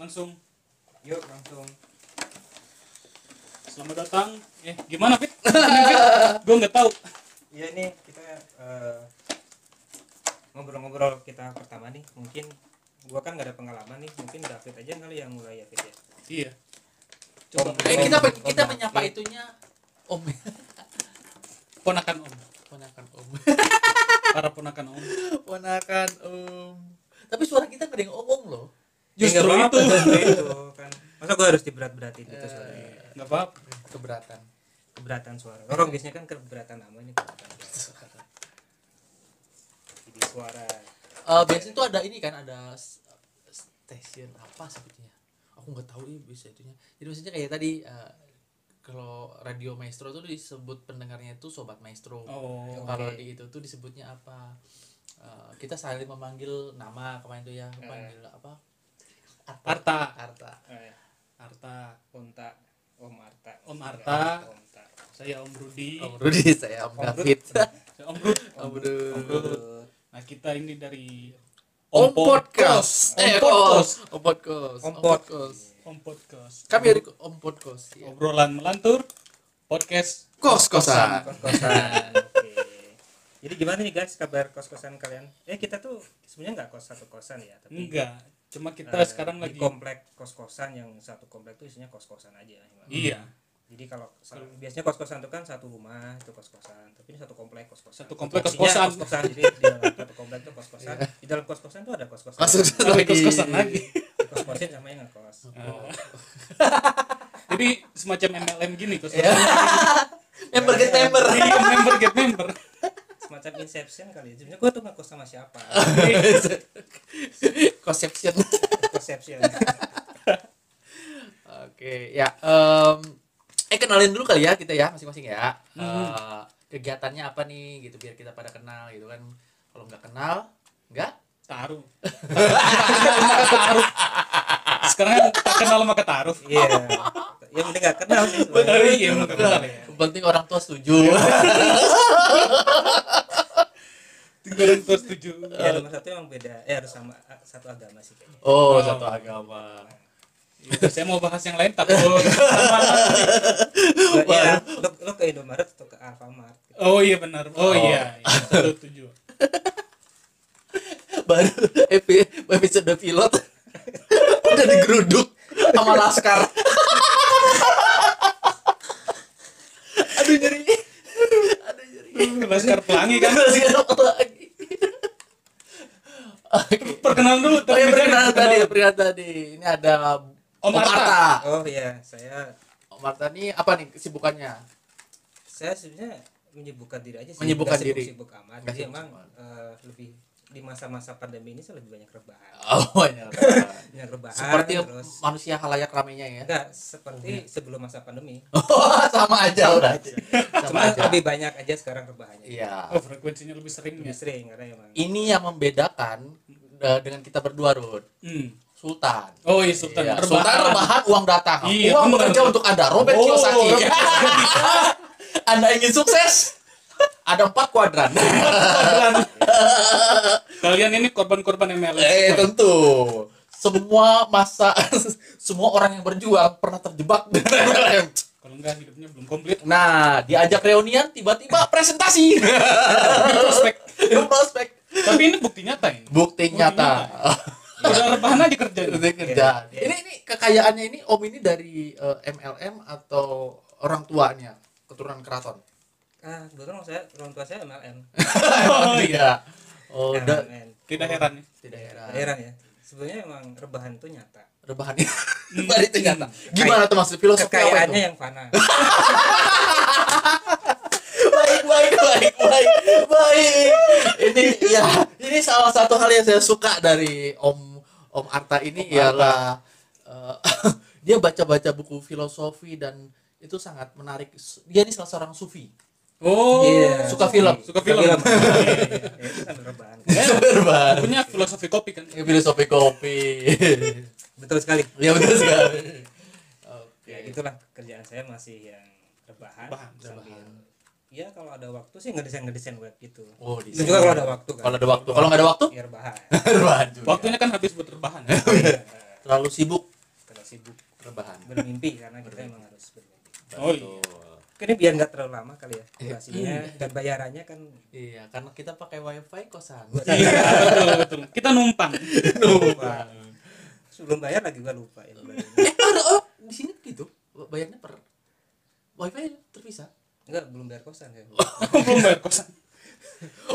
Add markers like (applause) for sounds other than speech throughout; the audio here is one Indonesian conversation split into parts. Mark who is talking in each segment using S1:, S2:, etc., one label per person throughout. S1: langsung.
S2: Yuk langsung.
S1: Selamat datang. Eh, gimana, Fit? (laughs) Gue nggak tahu.
S2: Iya nih kita eh, ngobrol-ngobrol kita pertama nih. Mungkin gua kan gak ada pengalaman nih. Mungkin David aja kali yang mulai ya Fit ya.
S1: Iya.
S2: Coba. Iya,
S3: Eh, kita
S2: Om,
S3: kita
S2: Om,
S3: menyapa
S2: David.
S3: itunya Om. (laughs)
S1: Ponakan Om.
S3: Ponakan Om. (laughs)
S1: Para ponakan Om.
S3: Ponakan Om. Tapi suara kita gede yang om-om loh.
S1: Justru
S2: Ya, nggak
S1: itu.
S2: apa-apa, itu kan. Masa gua harus diberat-beratin gitu suaranya.
S3: Eh,
S1: Nggak apa-apa.
S3: keberatan.
S2: (laughs) Keberatan suara. Orang biasanya kan keberatan nama ini keberatan suara. Jadi suara.
S3: Eh, biasanya tuh ada ini kan ada s- stasiun apa sebetulnya aku nggak tahu ini bisa itunya jadi maksudnya kayak tadi eh, kalau radio maestro tuh disebut pendengarnya itu sobat maestro
S1: Oh.
S3: kalau
S2: oke.
S3: di itu tuh disebutnya apa Eh, kita saling memanggil nama kemarin tuh
S2: Eh.
S3: ya memanggil apa
S1: Arta.
S3: Arta
S1: Arta.
S2: Onta. Om Arta.
S1: Eh. Om Arta.
S2: Om Arta.
S1: Saya Om Rudi.
S3: Om Rudi saya Om David
S1: Saya Om Rud.
S3: Om Rudi
S1: Om Rud. Nah, kita ini dari
S3: Om Podcast eh
S1: Om Podcast.
S3: Kos Om Podcast
S2: Om
S3: Om Podcast
S1: Om Podcast.
S3: kami dari Om Podcast ya.
S1: Obrolan melantur. Podcast.
S3: Kos Kosan
S2: kos-kosan. Oke. Jadi gimana nih guys kabar kos-kosan kalian? Eh kita tuh sebenarnya nggak kos satu kosan ya, tapi
S1: Enggak. Cuma kita
S2: eh,
S1: sekarang
S2: di
S1: lagi.
S2: komplek kos-kosan yang satu komplek tuh isinya kos-kosan aja. Iman.
S3: (laughs)
S1: Iya.
S2: Jadi kalau sa- biasanya kos-kosan tuh kan satu rumah itu kos-kosan, tapi ini satu komplek kos-kosan.
S1: Satu komplek
S2: Isinya
S1: kos-kosan. Iya.
S2: kos-kosan. Jadi di dalam satu komplek tuh kos-kosan. Di dalam kos-kosan tuh ada kos-kosan.
S3: Maksud
S1: Tapi kos-kosan lagi.
S2: Kos-kosan sama yang ngekos.
S1: Oh. Jadi semacam MLM gini kos. (laughs)
S3: Iya. member get member
S1: Iya, member get member.
S2: Semacam inception kali ya. Sebenarnya gua tuh ngekos sama siapa?
S3: conception
S2: Konsepsi
S1: (laughs)
S3: oke ya em, eh kenalin dulu kali ya kita ya masing-masing ya Eh, kegiatannya apa nih gitu biar kita pada kenal gitu kan kalau nggak kenal nggak
S1: Taruh. Taruh. Sekarang kan tak kenal maka taruh.
S2: Iya. Yang penting gak kenal sih. sebenarnya.
S1: Bener, iya,
S2: Yang
S1: bener.
S3: yang penting orang tua setuju
S1: Tinggal terus setuju.
S2: Ya nomor satu emang beda. Eh harus sama satu agama sih
S3: (laughs)
S2: kayaknya.
S3: oh satu agama
S1: Yaudah, Iya, saya mau bahas yang lain tapi oh, sama-sama.
S2: Lo, ya, lo, lo ke Indomaret atau ke Alfamart?
S1: oh iya benar. Oh, iya, iya, satu tujuh.
S3: baru epi- episode pilot udah digeruduk sama laskar aduh nyeri aduh nyeri
S1: Laskar Pelangi kan.
S3: Laskar lagi oke
S1: Perkenalan dulu.
S3: oh ya perkenalan tadi
S1: perkenalan.
S3: perkenalan tadi ini ada
S1: Om Arta.
S2: Oh iya, saya
S3: Om Arta ini apa nih kesibukannya
S2: saya sebenarnya menyibukkan diri aja sih.
S3: Menyibukkan
S2: Nggak
S3: diri.
S2: Sibuk, sibuk amat.
S3: Nggak
S2: Jadi
S3: sibuk
S2: emang
S3: amat.
S2: eh, lebih di masa-masa pandemi ini saya lebih banyak rebahan.
S3: oh banyak
S2: Banyak rebahan.
S3: seperti
S2: terus
S3: manusia halayak ramenya ya
S2: enggak seperti sebelum masa pandemi.
S3: oh sama aja udah
S2: Cuma
S3: sama aja
S2: lebih banyak aja sekarang rebahannya.
S3: iya
S1: Oh, frekuensinya lebih sering
S2: Lebih
S1: ya.
S2: sering karena emang
S3: ini yang membedakan eh, dengan kita berdua Rud
S1: Hmm.
S3: Sultan
S1: Oh iya Sultan.
S3: Iya,
S1: Rebahan.
S3: Sultan rebahan uang datang
S1: Iya,
S3: uang
S1: bener.
S3: bekerja untuk anda Robert
S1: Oh,
S3: Kiyosaki
S1: Robert
S3: (laughs) anda ingin sukses ada
S1: (laughs)
S3: empat kuadran
S1: Kebetulan. Kalian ini korban-korban MLM.
S3: eh tentu semua masa (laughs) semua orang yang berjuang pernah terjebak dengan (laughs) MLM
S1: Kalau enggak hidupnya belum komplit.
S3: nah diajak reunian tiba-tiba presentasi (laughs)
S1: Prospek.
S3: prospek
S1: Tapi ini bukti nyata ini.
S3: bukti nyata
S1: Udah rebahan aja
S3: (laughs)
S1: kerja.
S3: Kerja kerjaan.
S1: Iya.
S3: Ini ini kekayaannya ini Om ini dari eh, MLM atau orang tuanya keturunan keraton.
S2: ah kebetulan saya orang tua saya MLM.
S3: oh (laughs) iya. Oh, da-
S2: MLM.
S1: Tidak heran ya.
S3: tidak heran.
S2: Heran ya. Sebenarnya emang rebahan tuh nyata.
S3: Rebahan (laughs) Rebahan itu nyata. Gimana tuh maksud filosofi apa itu?
S2: Kekayaannya yang fana.
S3: Baik baik baik baik baik. Ini ya ini salah satu hal yang saya suka dari Om Om Arta ini ialah eh, (laughs) dia baca-baca buku filosofi dan itu sangat menarik. Dia ini salah seorang sufi.
S1: Oh.
S2: Iya,
S3: Suka film.
S1: Suka film.
S2: Iya, itu sambil rebahan.
S1: Ya.
S3: (laughs)
S1: (laughs)
S3: Berban.
S1: Punya Eh, filosofi kopi kan.
S3: Ya, filosofi kopi.
S2: Betul sekali.
S3: ya betul sekali. Oke.
S2: Ya gitulah kerjaan saya masih yang rebahan,
S1: Rebahan,
S2: sambil ya kalau ada waktu sih ngedesain ngedesain web gitu.
S3: Oh, di
S2: Itu juga kalau ada waktu kan.
S3: Kalau ada waktu. Kalau nggak ada waktu,
S2: ya rebahan. Iya,
S3: berban juga.
S1: Waktunya kan habis buat rebahan.
S3: terlalu sibuk
S2: sibuk
S3: rebahan.
S2: bermimpi karena kita emang harus bermimpi.
S1: (laughs) Oh iya.
S3: Betul.
S2: Ini biar nggak terlalu lama kali ya
S3: Iya.
S2: durasinya dan bayarannya kan
S3: Iya, karena kita pakai wifi kosan.
S1: Iya, betul, betul. Kita numpang.
S2: lupa. Sebelum bayar lagi gua lupa ya.
S3: (laughs)
S2: bayarnya.
S3: eh, ada oh, di sini gitu. Bayarnya per wifi terpisah.
S2: Enggak belum bayar kosan ya.
S1: Belum bayar kosan.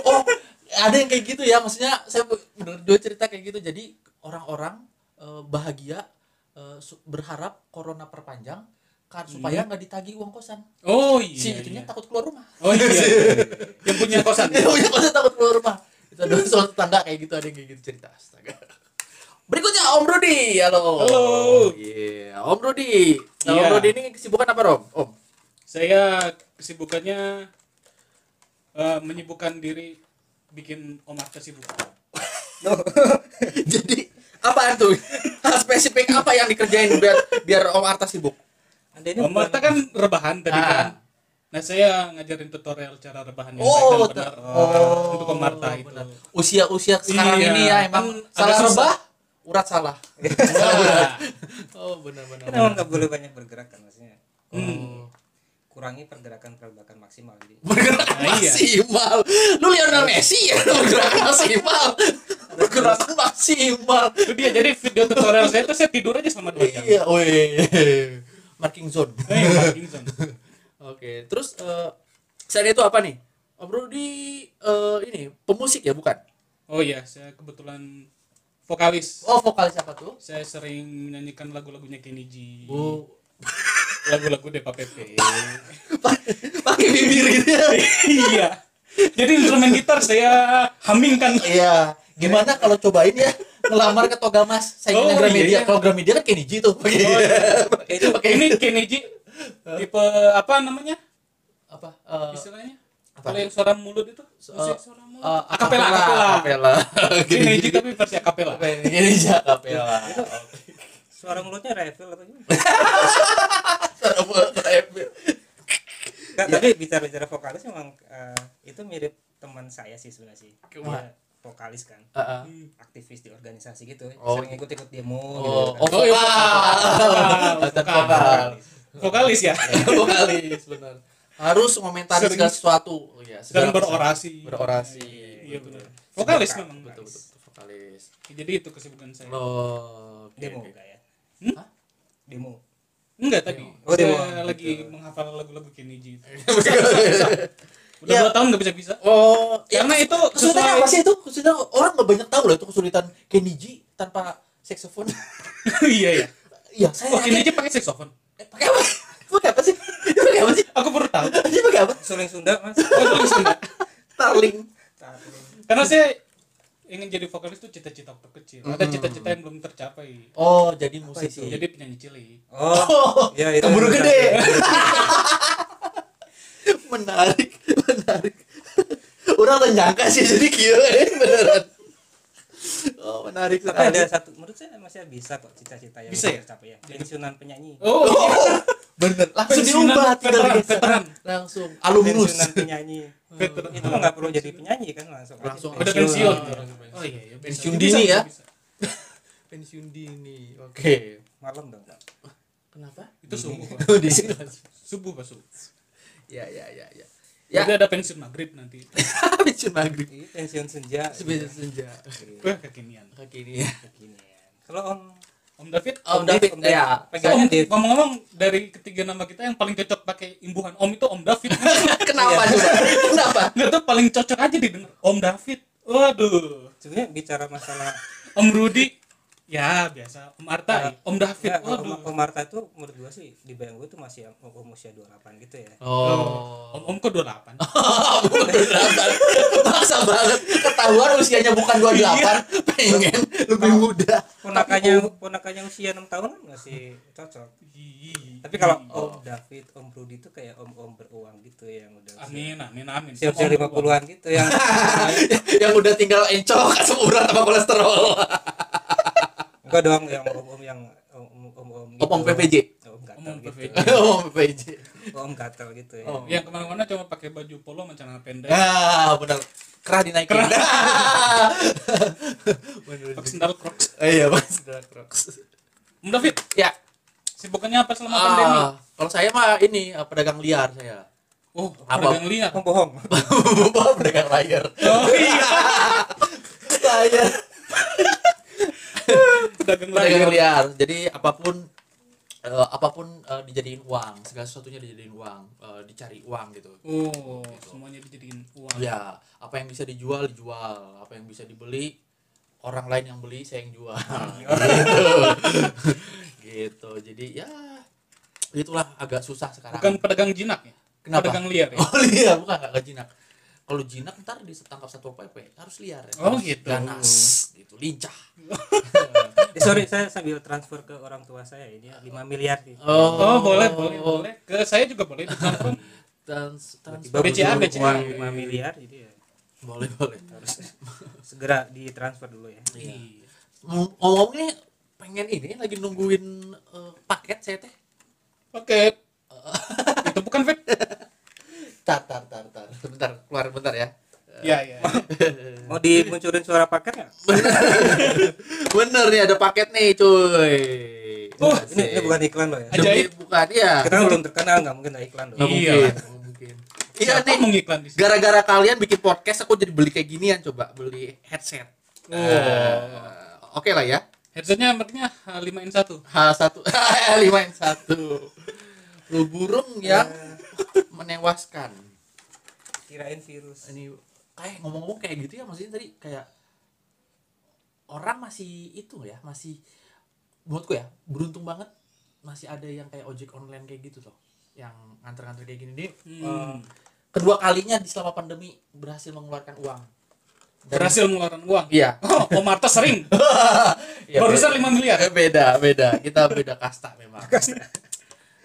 S3: Oh, ada yang kayak gitu ya. Maksudnya saya bener dua cerita kayak gitu. Jadi orang-orang eh, bahagia eh, su- berharap corona perpanjang kar- supaya nggak ditagih uang kosan.
S1: Oh iya.
S3: si
S1: iya.
S3: itunya takut keluar rumah.
S1: Oh iya. Yang punya
S3: (laughs)
S1: kosan.
S3: Dia punya kosan Iya, takut keluar rumah. Itu ada soal tetangga kayak gitu, ada yang kayak gitu cerita. Astaga. Berikutnya Om Rudi. Halo.
S1: Halo.
S3: Iya, Om Rudi. Nah, Om
S1: Iya.
S3: Rudi ini kesibukan apa, Rom? Om.
S1: Saya kesibukannya eh, menyibukkan diri bikin Omar kesibukan.
S3: (laughs) Jadi apaan tuh? Hal (laughs) spesifik apa yang dikerjain biar biar Om Arta sibuk?
S2: Anda ini
S1: Om Marta kan rebahan tadi
S3: Ah.
S1: kan. Nah, saya ngajarin tutorial cara rebahan yang
S3: Oh,
S1: baik dan benar
S3: ter-
S1: eh, untuk Om Marta itu.
S3: gitu. Usia-usia sekarang
S1: Iya,
S3: ini ya emang
S1: kan
S3: salah
S1: agak susah.
S3: rebah, urat salah. (laughs)
S1: Nah,
S3: Oh, benar-benar.
S2: kan emang nggak boleh banyak bergerak kan maksudnya.
S1: hmm.
S2: Kurangi pergerakan pergerakan maksimal jadi.
S3: bergerak
S1: Nah, iya.
S3: maksimal lu Lionel Messi ya (laughs) bergerak maksimal bergerak maksimal
S1: Itu dia jadi video tutorial saya itu saya tidur aja selama 2 jam.
S3: iya weh marking zone
S1: Eh, parking zone.
S3: oke terus eh selain itu apa nih Om Rudi eh, ini pemusik ya bukan
S1: Oh iya, saya kebetulan vokalis.
S3: oh vokal siapa tuh
S1: Saya sering menyanyikan lagu-lagunya Kenny G,
S3: bu
S1: lagu-lagu Depa Pepe.
S3: pakai bibir gitu ya
S1: iya. Jadi instrumen gitar saya hamingkan.
S3: iya gimana kalau cobain ya ngelamar ke Toga Mas saya
S1: Oh,
S3: ingin Gramedia
S1: iya.
S3: kalau Gramedia kan Kenny G tuh pakai
S1: Itu
S3: pakai
S1: ini Kenny G tipe apa namanya?
S3: apa eh,
S1: Istilahnya?
S3: Apa?
S1: Kalau yang suara mulut itu? Musik suara mulut.
S3: eh,
S1: akapela,
S3: akapela.
S1: akapela.
S3: (laughs) Akapela.
S1: Kenny G tapi versi akapela.
S3: Ini aja kapela.
S2: Suara mulutnya refill atau
S3: (laughs)
S2: gimana? Nggak, tapi bicara-bicara vokalis memang eh, itu mirip teman saya sih sebenarnya sih.
S3: Wah.
S2: Dia vokalis kan,
S3: Heeh.
S2: aktivis di organisasi gitu,
S3: Oh.
S2: sering ikut-ikut demo gitu.
S3: Oh,
S2: Kan.
S3: oh,
S1: iya,
S3: vokal. Konten
S1: oh,
S3: vokal.
S1: Vokalis ya.
S3: (laughs) Vokalis benar. Harus komentari
S1: Sering-
S3: segala sesuatu. Oh, Iya,
S1: Dan
S3: segala
S1: berorasi.
S3: Berorasi.
S1: Iya benar. Vokalis
S2: Betul,
S1: memang.
S3: Betul, betul, betul, vokalis.
S1: Jadi itu kesibukan saya.
S3: Loh, oke,
S2: Demo
S3: oke.
S2: enggak ya?
S1: Hmm?
S2: Hah? Demo.
S1: Enggak tadi.
S2: Oh,
S1: saya
S3: iya,
S2: demo.
S1: lagi menghafal lagu-lagu Kenny G. itu. Udah
S3: Ya.
S1: dua tahun nggak bisa bisa.
S3: (laughs) Oh, iya.
S1: Karena itu
S3: kesulitan
S1: sesuai-
S3: apa sih itu? Kesulitan orang nggak banyak tahu loh itu kesulitan Kenny G tanpa saxophone.
S1: (laughs)
S3: (laughs)
S1: iya ya.
S3: Iya, saya
S1: Oh, Kenny G
S3: yakin.
S1: pakai saxophone.
S3: Eh, Pakai apa? (laughs) Pakai apa sih? Dia Pakai apa sih?
S1: Aku baru tahu.
S3: Dia pakai apa?
S2: Suling Sunda, Mas.
S1: Oh, terus enggak.
S3: Starling.
S2: Tapi
S1: Karena saya ingin jadi vokalis itu cita-cita waktu kecil. Ada cita-cita yang belum tercapai.
S3: Oh, jadi musisi.
S1: Jadi penyanyi cilik.
S2: Oh, ya itu.
S3: Keburu gede. (laughs) menarik, menarik. Orang tak nyangka sih jadi kira eh, beneran. Oh, menarik
S2: Tapi ada
S3: sekali.
S2: satu menurut saya masih bisa kok cita-cita yang
S1: Bisa ya?
S2: tercapai ya. Pensiunan penyanyi.
S1: Oh,
S3: Bener, langsung
S1: Pensiunan
S3: diubah tinggal
S1: veteran,
S3: digeser.
S1: veteran.
S3: Langsung alumnus.
S2: Pensiunan penyanyi.
S1: veteran.
S2: itu mah nggak perlu jadi penyanyi kan langsung. aja
S3: Langsung.
S1: Udah pensiun.
S3: Pensiun.
S1: Oh iya, iya,
S3: Pensiun
S1: Bisa,
S3: dini
S1: bisa,
S3: ya.
S1: bisa.
S3: Pensiun dini. Oke.
S2: Malam dong. Pak.
S3: Kenapa?
S1: Itu subuh. Pak.
S3: Di sini langsung.
S1: Subuh Pak, subuh.
S3: (laughs) Ya, ya, ya, ya. Ya,
S1: Jadi ada pensiun maghrib nanti.
S3: (laughs) pensiun maghrib.
S2: Iya, pensiun senja.
S3: Pensiun senja. ya.
S1: Wah, kekinian.
S3: Kekinian.
S2: Begini. Kalau Om
S1: Om David,
S3: Om David,
S2: Om David.
S3: ya.
S1: Om,
S2: pegangannya David.
S1: ngomong-ngomong dari ketiga nama kita yang paling cocok pakai imbuhan Om itu Om David. (laughs)
S3: Eh, Kenapa coba? Kenapa?
S1: Nggak tuh paling cocok aja didengar Om David. Waduh.
S2: sebenarnya bicara masalah
S1: Om Rudi. Ya, biasa. Om Arta. Om David.
S2: ya,
S1: Waduh.
S2: Om, Om Marta tuh menurut gua sih di bayang gua tuh masih om, om usia 28 gitu ya.
S3: Oh.
S1: Om Om ke 28.
S3: Beneran. Paksa banget ketahuan usianya bukan 28 Iya. pengen lebih muda
S2: Ponakannya ponakannya usia 6 tahun masih cocok.
S1: Ih.
S2: Tapi kalau Om David, Om Rudi tuh kayak om-om beruang gitu yang udah usia-
S1: Amin, amin, amin.
S2: siap-siap
S1: Om
S2: 50-an gitu yang
S3: yang udah tinggal encok (laughs) asam urat sama kolesterol
S2: enggak dong yang om-om yang om-om gitu.
S3: Om-om PPJ.
S1: Om
S2: Om
S1: Om
S2: gatal gitu.
S1: David.
S3: oh PJ
S2: Om gatal gitu ya.
S3: Oh.
S1: Yang kemana-mana cuma pakai baju polo sama celana pendek.
S3: ah benar kerah dinaikin bener (laughs)
S1: Pakai sendal Crocs.
S3: Eh, iya mas Crocs
S1: Om David,
S3: ya
S1: Sibukannya apa selama pandemi?
S3: Ah, kalau saya mah ini eh, pedagang liar saya. (laughs)
S1: Oh,
S3: Apa?
S1: pedagang liar.
S2: Pembohong.
S3: pedagang liar.
S1: Oh iya,
S3: Liar.
S1: pedagang
S3: Pedagang
S1: liar.
S3: liar. Jadi apapun eh, apapun eh, dijadiin uang, segala sesuatunya dijadiin uang, eh, dicari uang gitu.
S1: Oh, semuanya dijadiin uang.
S3: Ya, apa yang bisa dijual dijual, apa yang bisa dibeli orang lain yang beli saya yang jual.
S1: Hmm.
S3: (laughs) gitu. gitu. Jadi ya itulah agak susah sekarang.
S1: Bukan pedagang jinak ya?
S3: Kenapa?
S1: Pedagang liar ya?
S3: Oh iya, bukan enggak jinak. Kalau jinak ntar ditangkap satu PP harus liar. ya.
S1: Oh,
S3: Harus
S1: gitu.
S3: Ganas, gitu lincah.
S2: Eh, sorry, saya sambil transfer ke orang tua saya ini ya, 5 miliar nih.
S1: Oh, boleh, boleh, boleh. Ke saya juga boleh ditransfer.
S3: Trans, trans,
S2: Tiba-tiba
S1: BCA,
S2: butuh
S1: BCA.
S2: uang 5 miliar jadi ya
S3: boleh boleh.
S2: segera ditransfer dulu ya.
S3: Iya. Ngom- Ngomongnya pengen ini lagi nungguin eh, paket saya teh.
S1: Oke. Itu bukan vape.
S3: Tar tar tar tar. Bentar, keluar bentar ya.
S1: Ya, ya.
S2: Mau dimunculin suara paket nggak?
S3: Bener nih ada paket nih, cuy.
S2: Oh,
S3: Asik.
S2: ini, ini bukan iklan loh ya.
S1: Aja. Ajaib.
S3: Demi- bukan ya.
S2: Kita belum terkenal nggak mungkin ada iklan loh.
S3: Nggak
S1: Iya.
S3: mungkin. nggak mungkin. Iya
S1: Siapa
S3: nih.
S1: mau ngiklan di sini?
S3: gara-gara kalian bikin podcast aku jadi beli kayak ginian coba beli headset
S1: Oh.
S3: Eh, oke lah ya
S1: Headsetnya eh, merknya 5N1.
S3: (laughs) H1 H5 N1 lu burung yang Eh. menewaskan
S2: Kirain virus.
S3: ini kayak ngomong-ngomong kayak gitu ya maksudnya tadi kayak orang masih itu ya masih buatku ya beruntung banget masih ada yang kayak ojek online kayak gitu loh yang nganter-nganter kayak gini nih
S2: Oh.
S1: Hmm.
S3: kedua kalinya di selama pandemi berhasil mengeluarkan uang Dari-
S1: Berhasil mengeluarkan uang.
S3: iya
S1: (laughs) Oh, Om Arta
S3: (laughs)
S1: sering.
S3: Ya,
S1: Barusan
S3: beda.
S1: 5 miliar.
S3: Eh, beda beda kita beda kasta memang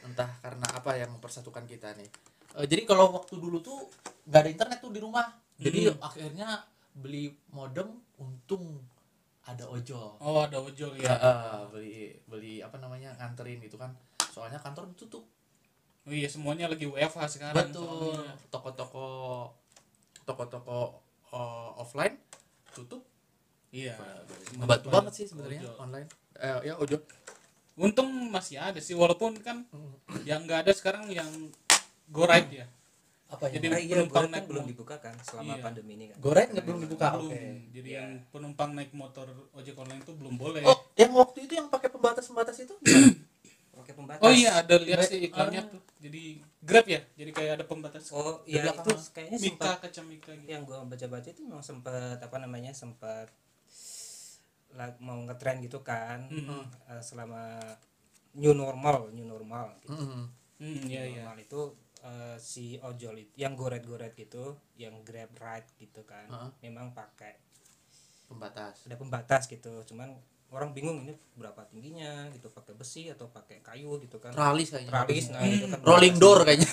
S3: entah karena apa yang mempersatukan kita nih Eh, jadi kalau waktu dulu tuh nggak ada internet tuh di rumah jadi akhirnya beli modem untung ada ojol
S1: Oh, ada ojol ya.
S3: Ya, eh, beli beli apa namanya nganterin gitu kan soalnya kantor tutup
S1: Oh iya, semuanya lagi WFH sekarang.
S3: betul
S1: soalnya.
S3: toko-toko toko-toko eh, offline tutup
S1: Iya.
S3: membantu banget sih sebenarnya
S1: Ojol.
S3: online Eh, ya ojol
S1: Untung masih ada sih walaupun kan
S3: Mm.
S1: yang nggak ada sekarang yang go ride ya.
S3: apa ya
S1: Jadi
S2: Nah, iya,
S1: penumpang
S2: berarti
S1: naik
S2: belum
S1: mo-
S2: dibuka kan selama
S1: Iya.
S2: pandemi ini kan.
S3: Goret nggak belum dibuka.
S1: Belum.
S3: Ah, Oke. Iya.
S1: Jadi yang penumpang naik motor ojek online itu belum boleh.
S3: Oh, yang waktu itu yang pakai pembatas-pembatas itu?
S2: Pakai pembatas.
S1: Oh iya ada lihat
S3: Baik,
S1: sih iklannya tuh. Jadi Grab ya. Jadi kayak ada pembatas.
S2: Oh iya itu
S3: belakang
S2: kayaknya sempat
S1: Mika kaca Mika gitu.
S2: yang gua baca-baca itu memang sempat apa namanya sempat la- mau ngetren gitu kan
S1: Mhm.
S2: eh, selama new normal new normal gitu.
S1: Hmm, iya iya.
S2: normal itu eh, si ojol itu yang goret-goret gitu yang grab ride gitu kan
S3: Heeh.
S2: memang pakai
S3: Pembatas.
S2: ada pembatas gitu cuman orang bingung ini berapa tingginya gitu pakai besi atau pakai kayu gitu kan
S3: Tralis kayaknya.
S2: tralis nah itu kan
S3: Rolling
S2: pembatas.
S3: door kayaknya.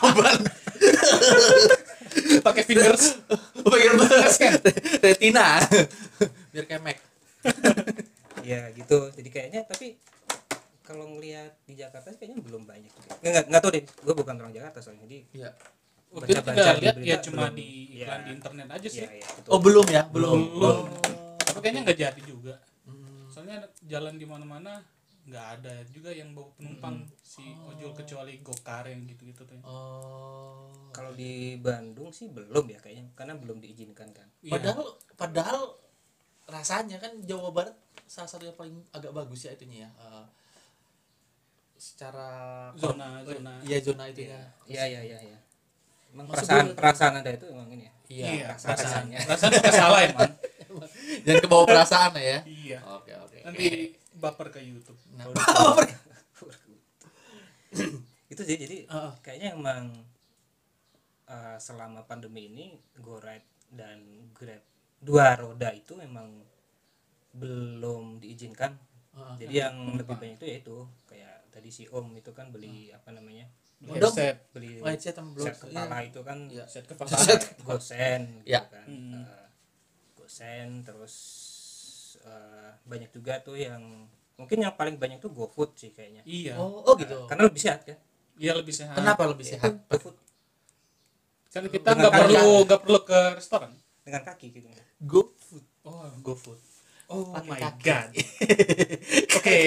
S3: Aman.
S1: Pakai fingers.
S3: Pakai (laughs) pembatas kan. Retina. Biar kayak Mac.
S2: ya gitu jadi kayaknya tapi kalau ngelihat di Jakarta sih kayaknya belum banyak juga nggak nggak tahu deh gue bukan orang Jakarta soalnya jadi
S3: Iya.
S1: Waktu itu
S2: Baca-baca
S1: tidak lihat
S2: di
S1: ya
S2: berita
S1: cuma
S2: belum.
S1: di iklan
S2: Iya.
S1: di internet aja sih.
S2: ya, ya, gitu.
S3: Oh, belum ya? Belum. Hmm.
S1: Belum. Tapi kayaknya nggak jadi juga. Soalnya jalan di mana-mana nggak ada juga yang bawa penumpang si ojol kecuali gokar yang gitu-gitu tuh.
S3: Oh.
S2: kalau di Bandung sih belum ya kayaknya karena belum diizinkan kan
S1: Iya.
S3: Padahal padahal rasanya kan Jawa Barat salah satu yang paling agak bagus ya itunya ya. Eh, secara
S1: Zona- zona.
S3: Iya, zona itu ya.
S2: iya iya iya ya. emang
S3: Maksud
S2: perasaan
S3: gua-
S2: perasaan ada itu emang ini ya
S3: Iya.
S1: perasaan.
S2: perasaannya.
S1: Perasaan suka salah ya, emang.
S3: Jangan kebawa perasaan ya.
S1: Iya.
S3: Oke, oke.
S1: Nanti baper ke YouTube.
S3: Nah,
S2: (coughs) itu sih jadi
S3: Heeh.
S2: kayaknya emang eh, selama pandemi ini GoRide dan Grab dua roda itu memang belum diizinkan
S3: Heeh.
S2: jadi yang
S3: Hmm.
S2: lebih banyak itu yaitu kayak tadi si Om itu kan beli apa namanya
S1: Modem.
S3: Headset.
S2: beli
S3: Mindset yang belum
S2: set kepala itu kan (laughs)
S3: Iya.
S1: Set ke
S3: Set.
S2: gosen gitu
S3: Ya.
S2: kan Eh, gosen terus eh, banyak juga tuh yang mungkin yang paling banyak tuh GoFood sih kayaknya
S1: Iya.
S3: Oh, oh gitu.
S2: karena lebih sehat kan
S1: Iya lebih sehat.
S3: Kenapa lebih sehat?
S2: GoFood
S1: Kan kita
S2: Dengan
S1: nggak perlu nggak perlu ke restoran.
S2: (laughs) dengan kaki gitu
S3: Go food.
S1: Oh, GoFood. Oh,
S2: Oh
S3: Pakai
S2: my
S3: kaki.
S1: (laughs)
S2: god. Oke.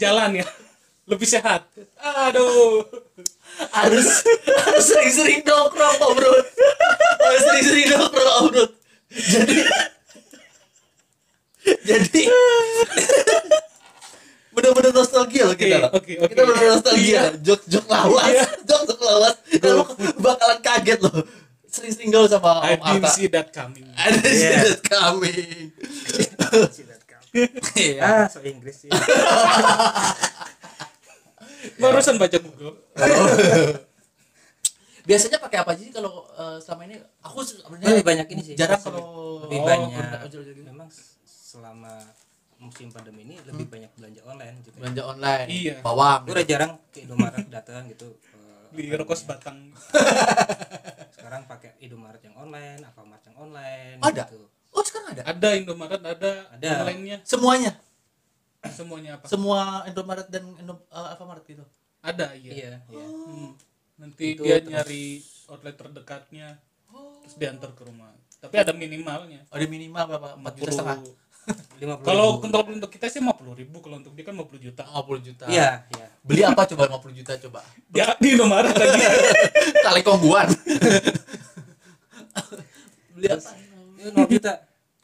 S1: Jalan ya. Lebih sehat. Aduh.
S3: (laughs) harus harus sering-sering nongkrong Om Rud. harus sering-sering nongkrong Om Rud. jadi jadi bener-bener nostalgia loh kita
S1: Oke,
S3: loh
S1: oke, oke.
S3: kita bener-bener nostalgia jok-jok lawas
S1: Iya.
S3: jok-jok lawas Dan lu bakalan kaget loh sering-sering gaul sama
S1: I
S3: Om
S1: didn't
S3: Arta
S1: see that coming.
S3: I didn't see
S1: Iya.
S2: Yeah.
S3: that coming Iya.
S2: ah, so Inggris sih.
S1: Barusan baca Google.
S3: biasanya pakai apa aja sih kalau eh, selama ini aku sebenarnya
S2: Lebih banyak ini sih.
S3: jarang
S2: Lebih-
S3: kalau
S2: lebih
S1: Oh,
S2: banyak.
S3: ojol-ojol gitu.
S2: Memang s- selama musim pandemi ini lebih Hmm. banyak belanja online gitu.
S3: belanja online
S1: Iya.
S3: bawang
S2: Gue udah jarang ke (laughs) Indomaret datang gitu. eh,
S1: Beli
S2: apa
S1: rokok
S2: namanya.
S1: sebatang.
S2: Sekarang pakai Indomaret yang online, Alfamart yang online
S3: Ada?
S2: gitu.
S3: oh sekarang ada
S1: Ada Indomaret, ada,
S2: Ada.
S1: online-nya.
S3: semuanya
S1: Semuanya apa?
S3: semua Indomaret dan Indo, eh, Alfamart gitu
S1: ada, iya.
S2: Iya, iya.
S3: Oh.
S1: Hmm. Nanti
S2: Itu
S1: dia
S2: terus-
S1: nyari outlet terdekatnya. Terus diantar ke rumah. Tapi ada minimalnya.
S3: Oh, ada minimal berapa empat juta setengah
S2: 50
S1: Kalau
S2: ribu.
S1: untuk untuk kita sih 50 ribu, kalau untuk dia kan 50 juta.
S3: lima puluh juta
S2: Iya, iya.
S3: beli apa coba lima puluh juta coba
S1: Ya di Indomaret lagi.
S3: telekongguan beli apa
S2: Ya, 0 juta.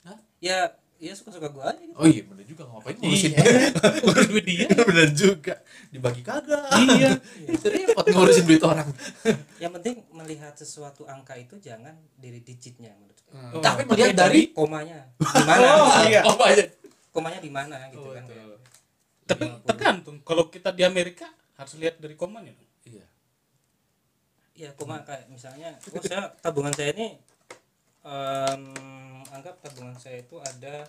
S3: Hah?
S2: Ya, ya suka-suka gue aja gitu.
S3: oh iya bener juga ngapain ngurusin
S1: Iya. Urus duit dia.
S3: (laughs) bener juga dibagi kagak
S1: Iya.
S3: itu repot ngurusin duit orang
S2: Yang penting melihat sesuatu angka itu jangan dari digitnya menurut gue.
S1: Oh,
S3: tapi melihat dari
S2: Komanya di mana?
S1: Oh, iya.
S3: oh banyak
S2: Komanya di mana gitu kan.
S1: Tapi tergantung kalau kita di Amerika harus lihat dari komannya.
S3: iya
S2: Ya, koma kayak misalnya, oh saya tabungan saya ini em, anggap tabungan saya itu ada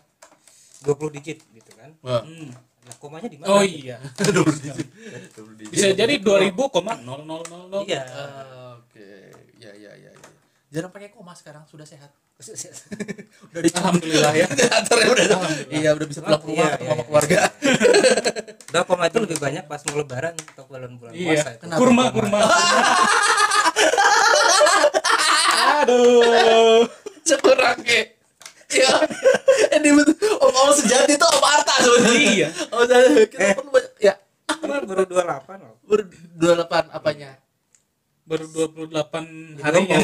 S2: 20 digit gitu kan.
S3: Wah.
S1: Hmm.
S2: Nah, komanya di mana?
S1: Oh iya.
S3: (laughs) Double digit. Iya, Double digit.
S1: Bisa jadi 2000,0000.
S2: Iya.
S3: Ah, Oke, ya ya ya. ya. Jarang pakai koma sekarang, sudah sehat.
S1: Oh.
S2: (laughs)
S3: udah dicuci.
S1: Alhamdulillah, ya.
S3: Antarnya (laughs) udah Iya, udah bisa pulang ke rumah
S2: Iya, iya,
S3: ketemu sama
S2: iya.
S3: (laughs) keluarga.
S2: Udah koma itu lebih banyak pas mau lebaran atau bulan-bulan
S1: Iya.
S2: puasa itu.
S3: Kenapa
S1: Kurma kurma.
S2: koma?
S1: Aduh.
S3: Sekurang kayak Ya, (laughs) ini betul. Om Om sejati tuh Om Arta sebenarnya.
S1: Iya.
S3: Om Arta kita perlu banyak. Ya,
S2: Kemarin baru 28 loh.
S3: ber 28 apanya?
S1: Baru 28
S2: Hari
S1: harinya.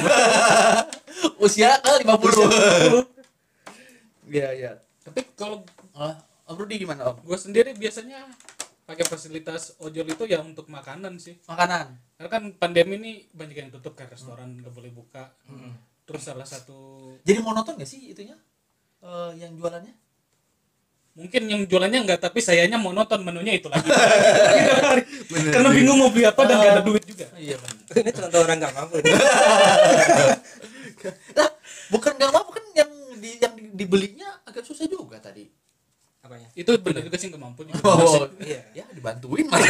S3: Usia ke 50. (laughs) Iya, iya.
S1: Tapi kalau
S3: Oh, Om Rudi gimana, Om?
S1: gue sendiri biasanya pakai fasilitas ojol itu ya untuk makanan sih.
S3: Makanan.
S1: Karena kan pandemi ini banyak yang tutup kan restoran nggak boleh buka. Terus salah satu
S3: Jadi monoton gak sih itunya? Eh, yang jualannya?
S1: mungkin yang jualannya enggak tapi sayanya monoton menunya itu
S3: (laughs)
S1: lagi Tiap hari. karena bingung mau beli apa dan nggak ada duit juga
S3: Iya, benar.
S2: ini contoh orang nggak mampu ini.
S3: (laughs) Nah, bukan nggak mampu kan yang di yang di- dibelinya agak susah juga tadi.
S2: apanya
S1: itu benar juga sih nggak mampu juga.
S2: iya
S3: ya dibantuin (laughs) mas.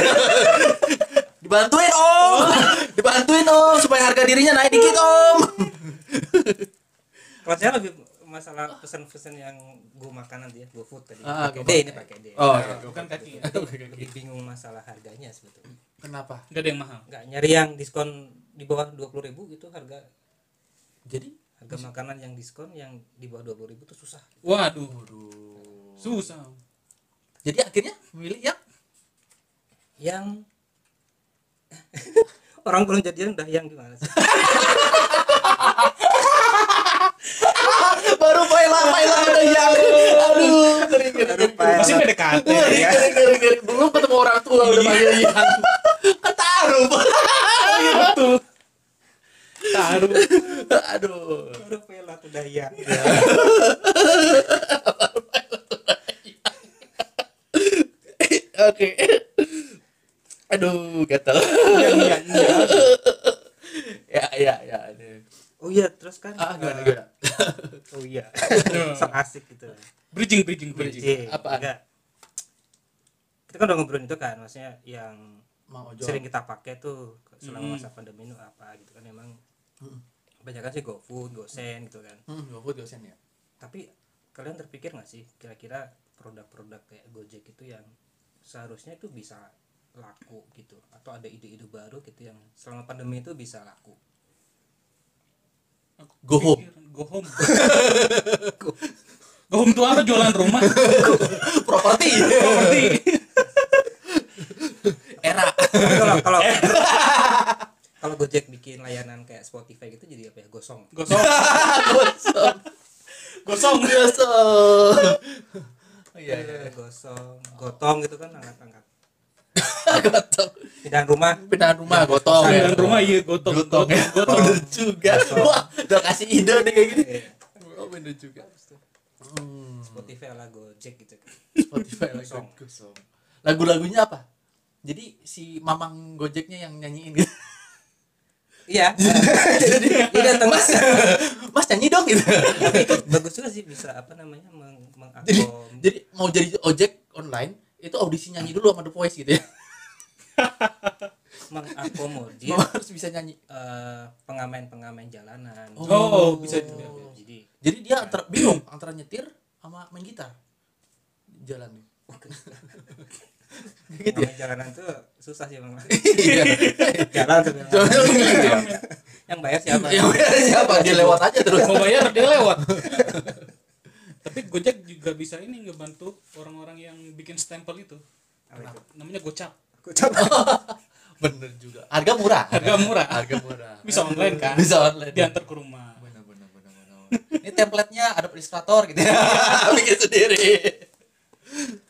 S3: dibantuin om, dibantuin om supaya harga dirinya naik dikit om.
S2: kalau saya lebih masalah pesan-pesan yang gue makan nanti ya gue food tadi
S3: Ah,
S2: pakai
S3: GoFood.
S2: D ini pakai D
S3: Oh,
S1: Nah, bukan kaki ya.
S2: lebih bingung masalah harganya sebetulnya
S3: Kenapa?
S1: nggak ada yang mahal
S2: nggak nyari yang diskon di bawah dua puluh ribu itu harga
S3: Jadi,
S2: harga makanan yang diskon yang di bawah dua puluh ribu itu susah
S1: waduh susah
S3: jadi akhirnya milih yang (laughs)
S2: yang (laughs) orang belum jadian udah yang gimana sih
S3: baru paila paila udah iya. yang aduh kering
S2: Baru
S3: kering
S2: paila.
S1: masih PDKT
S3: kering (laughs)
S1: ya
S3: kering kering kering belum ketemu orang tua udah
S1: Iya.
S3: panggil yang ketaruh
S1: oh, iya betul (laughs) taruh
S3: aduh
S2: baru pelat udah yang
S3: Iya. (laughs) Oke. Aduh, gatel. (laughs)
S2: Yang
S3: Iya,
S2: yang, yang.
S3: ya, ya, ya. aduh.
S2: oh iya terus kan
S3: Ah, gimana,
S2: eh,
S3: gimana?
S2: oh iya sok asik gitu
S1: bridging bridging bridging
S2: Bridging.
S3: Apaan?
S2: Enggak. Kita kan udah ngobrolin itu kan, maksudnya yang
S3: Mang Ojo.
S2: sering kita pakai tuh selama
S1: Hmm.
S2: masa pandemi itu apa gitu kan emang kebanyakan sih GoFood, GoSend gitu kan.
S3: Hmm, GoFood dosen ya.
S2: Tapi kalian terpikir nggak sih kira-kira produk-produk kayak Gojek itu yang seharusnya itu bisa laku gitu atau ada ide-ide baru gitu yang selama pandemi itu bisa laku.
S1: Aku
S3: Go home.
S1: pikir, go home Gom tua apa jualan
S3: (laughs)
S1: rumah?
S3: (laughs) properti
S1: Properti.
S3: era
S2: (laughs) kalau kalau kalau Gojek bikin layanan kayak Spotify gitu jadi apa ya gosong
S1: Gosong.
S3: (laughs) (laughs) gosong
S1: Gosong.
S3: gosong (laughs) Oh, iya iya
S2: gosong gotong gitu kan angkat angkat
S3: gotong
S2: pindahan rumah
S3: pindahan rumah gotong ya.
S1: Jualan rumah iya gotong.
S3: gotong ya.
S1: Gotong.
S3: (laughs) bener juga
S2: Gotong.
S3: wah udah kasih ide nih kayak gini
S2: Iya.
S3: oh bener juga Hmm,
S2: Spotify ala Gojek gitu
S3: Spotify lagi
S2: Gosong.
S3: gosong lagu-lagunya apa jadi si mamang gojeknya yang nyanyiin gitu (laughs)
S2: iya jadi dia datang mas
S3: mas nyanyi dong gitu
S2: bagus juga sih bisa apa namanya meng mengakom
S3: jadi jadi mau jadi ojek online itu audisi nyanyi dulu sama The Voice gitu ya
S1: Iya.
S3: (laughs)
S2: mengakomodir
S3: Mama harus bisa nyanyi
S2: eh, pengamen-pengamen jalanan
S1: Oh, bisa
S2: Gitu.
S1: juga.
S2: jadi
S3: jadi dia antara bingung antara nyetir sama main gitar
S1: (laughs)
S3: jalan nih
S2: gitu jalanan tuh susah sih memang
S3: iya
S2: jalan tuh memang.
S3: Jalan tuh iya.
S2: yang bayar siapa
S3: Ya, siapa dia lewat aja terus
S1: Mau bayar dia lewat. Tapi Gojek juga bisa ini ngebantu orang-orang yang bikin stempel itu.
S2: Apa itu?
S1: Namanya Gocap.
S2: Oh.
S3: bener juga harga murah
S1: Harga murah.
S3: harga murah
S1: Bisa online kan?
S3: bisa online
S1: Diantar ke rumah.
S3: bener bener bener bener ini template-nya ada Illustrator gitu ya (laughs) bikin sendiri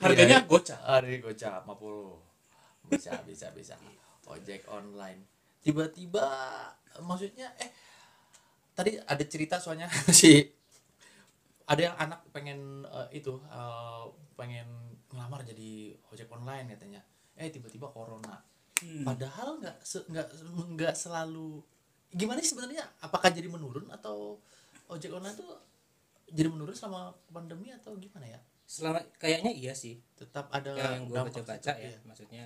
S1: Harganya Gocap.
S3: Hari gocap 50. Bisa bisa bisa. Ojek online. Tiba-tiba maksudnya eh tadi ada cerita soalnya (laughs) si ada yang anak pengen eh, itu eh, pengen ngelamar jadi ojek online katanya. Eh tiba-tiba corona.
S1: Hmm.
S3: Padahal nggak se- nggak nggak selalu gimana sih sebenarnya? Apakah jadi menurun atau ojek online tuh jadi menurun selama pandemi atau gimana ya?
S2: selama kayaknya iya sih
S3: Tetap ada
S2: yang, yang gue
S3: Ya, dampak
S2: baca-baca
S3: tetap,
S2: ya
S3: iya.
S2: maksudnya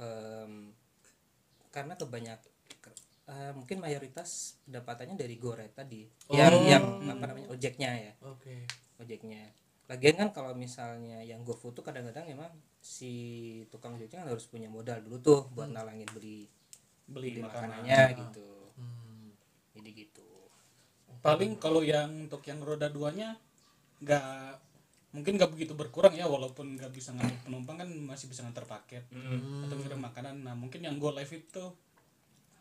S2: em, karena kebanyak ke- eh, mungkin mayoritas pendapatannya dari goret tadi yang
S3: Oh.
S2: yang apa namanya ojeknya ya
S3: Oke.
S2: ojeknya lagian kan kalau misalnya yang GoFood tuh kadang-kadang emang si tukang ojeknya kan harus punya modal dulu tuh buat nalangin beli
S1: Beli
S2: beli
S1: makanan.
S2: makanannya gitu
S3: Hmm.
S2: jadi gitu
S1: paling kalau yang untuk yang roda duanya nggak mungkin nggak begitu berkurang ya walaupun nggak bisa ngantar penumpang kan masih bisa ngantar paket atau ngirim makanan nah mungkin yang go live itu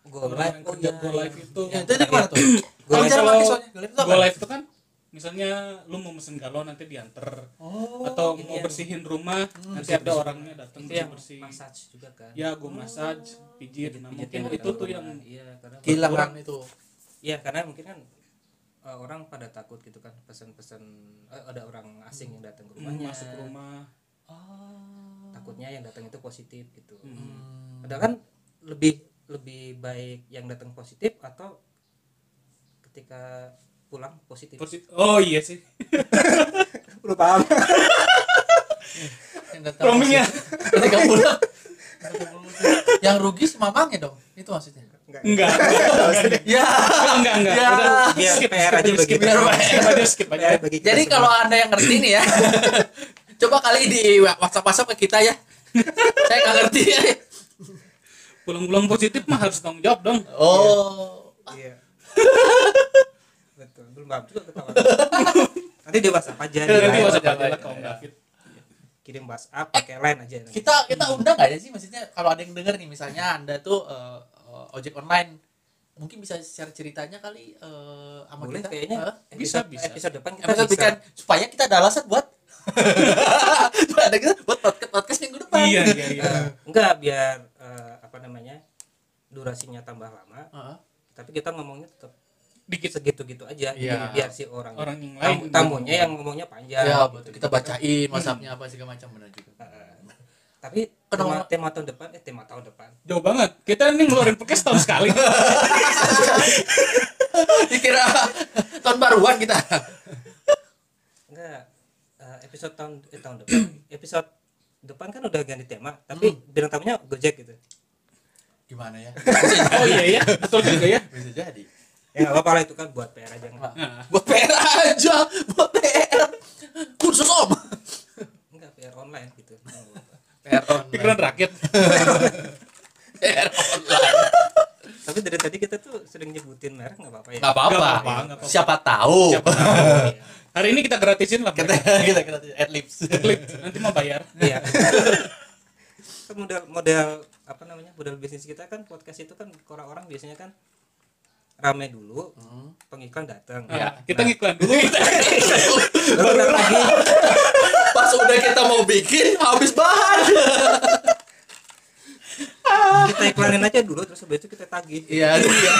S2: Go
S1: orang yang
S2: live, oh
S1: kerja
S2: iya,
S1: go
S2: iya.
S1: live itu
S3: Ya, itu dia kemana tuh? Kalau
S1: Kalau-
S3: cara pakai soalnya, kalian tuh
S1: go
S3: apa?
S1: live itu kan misalnya lu mau mesen galon nanti diantar
S3: Oh,
S1: atau
S2: gitu
S1: mau
S2: ya.
S1: bersihin rumah Iya, nanti ada orangnya datang
S2: itu
S1: bersih
S2: yang
S1: bersih
S2: Iya, massage juga kan
S1: ya go massage pijit nah
S2: Pijetin
S1: mungkin
S2: di
S1: itu
S2: dalam
S1: tuh
S2: rumah.
S1: yang
S2: iya karena
S3: kehilangan itu.
S2: Iya karena mungkin kan eh, orang pada takut gitu kan pesan-pesan eh, ada orang asing yang datang ke rumahnya
S1: masuk ke rumah
S3: Oh.
S2: takutnya yang datang itu positif gitu.
S1: Hmm.
S2: Padahal kan lebih lebih baik yang datang positif atau ketika pulang positif.
S1: Persi- oh iya sih (laughs)
S2: Udah (laughs) paham.
S3: Yang datang
S1: roamingnya
S3: masih- tiga bulan. Yang rugi si mamangnya dong. Itu maksudnya.
S1: enggak
S3: Ya.
S1: enggak enggak
S3: Ya.
S1: udah
S2: Biar
S1: skip
S2: PR aja
S1: skip
S2: bagi
S1: skip
S2: kita.
S1: skip aja skip aja
S2: Bagi kita
S3: Jadi
S2: semua.
S3: kalau Anda yang ngerti nih ya. (laughs) coba kali di WhatsApp WhatsApp ke kita ya. Saya nggak ngerti. Ya.
S1: pulang-pulang positif mah harus tanggung jawab dong
S3: Oh.
S2: Iya. (laughs) Betul. Belum paham juga
S1: (laughs)
S2: ketawa. Nanti di WhatsApp aja. di
S1: nanti
S2: line
S1: WhatsApp
S3: Ya,
S2: aja.
S1: aja lah kaum David
S2: Kirim WhatsApp pakai line aja. nanti.
S3: Kita kita undang nggak ya sih maksudnya kalau ada yang denger nih misalnya Anda tuh eh, eh, ojek online mungkin bisa share ceritanya kali eh sama
S2: Boleh
S3: kita.
S2: kayaknya.
S3: Hah?
S1: Bisa,
S2: Episode-
S1: bisa.
S2: Episode depan kita
S3: episode
S2: bisa.
S3: weekend supaya kita ada alasan buat Supaya (laughs) ada kita buat podcast podcast minggu depan
S1: iya iya iya
S2: Eh, enggak biar eh, apa namanya durasinya tambah lama
S3: Heeh.
S2: tapi kita ngomongnya tetap
S1: dikit
S2: segitu-gitu aja Jadi
S3: Iya.
S2: biar si orang,
S1: orang yang lain
S2: tamu- tamunya yang ngomongnya panjang
S3: ya
S2: gitu.
S3: betul kita bacain whatsappnya apa segala macam benar juga (laughs)
S2: Eh, tapi tema,
S3: Kenapa?
S2: tema tahun depan eh tema tahun depan
S1: jauh banget kita ini ngeluarin podcast tahun (laughs) sekali
S3: dikira Iya, tahun baruan kita
S2: enggak eh, episode tahun eh, tahun depan episode depan kan udah ganti tema tapi bilang tamunya gojek gitu
S3: gimana (laughs) ya
S1: oh iya iya betul juga ya
S3: bisa jadi
S2: ya nggak apa-apa lah itu kan buat PR aja enggak,
S1: Nah,
S3: buat PR aja buat PR kursus om
S2: enggak PR online gitu Nggak apa-apa.
S3: PR online
S1: pikiran rakyat
S3: PR online
S2: tapi dari tadi kita tuh sering nyebutin merek nggak apa-apa ya
S3: nggak
S1: Nggak
S3: apa-apa
S1: apa-apa, nggak apa-apa.
S3: siapa tahu
S2: Iya.
S1: Hari ini kita gratisin lah.
S3: (laughs) kita
S1: mereka.
S3: kita kita adlibs
S1: Klik, nanti mau bayar.
S2: Iya. Kan model model apa namanya? Model bisnis kita kan podcast itu kan orang-orang biasanya kan rame dulu, pengiklan datang.
S1: Nah,
S3: Hmm. Iya.
S1: kita ngiklan dulu.
S2: Baru datang lagi.
S3: pas udah kita mau bikin habis bahan
S2: Kita iklanin aja dulu terus habis itu kita tagih.
S3: iya iya.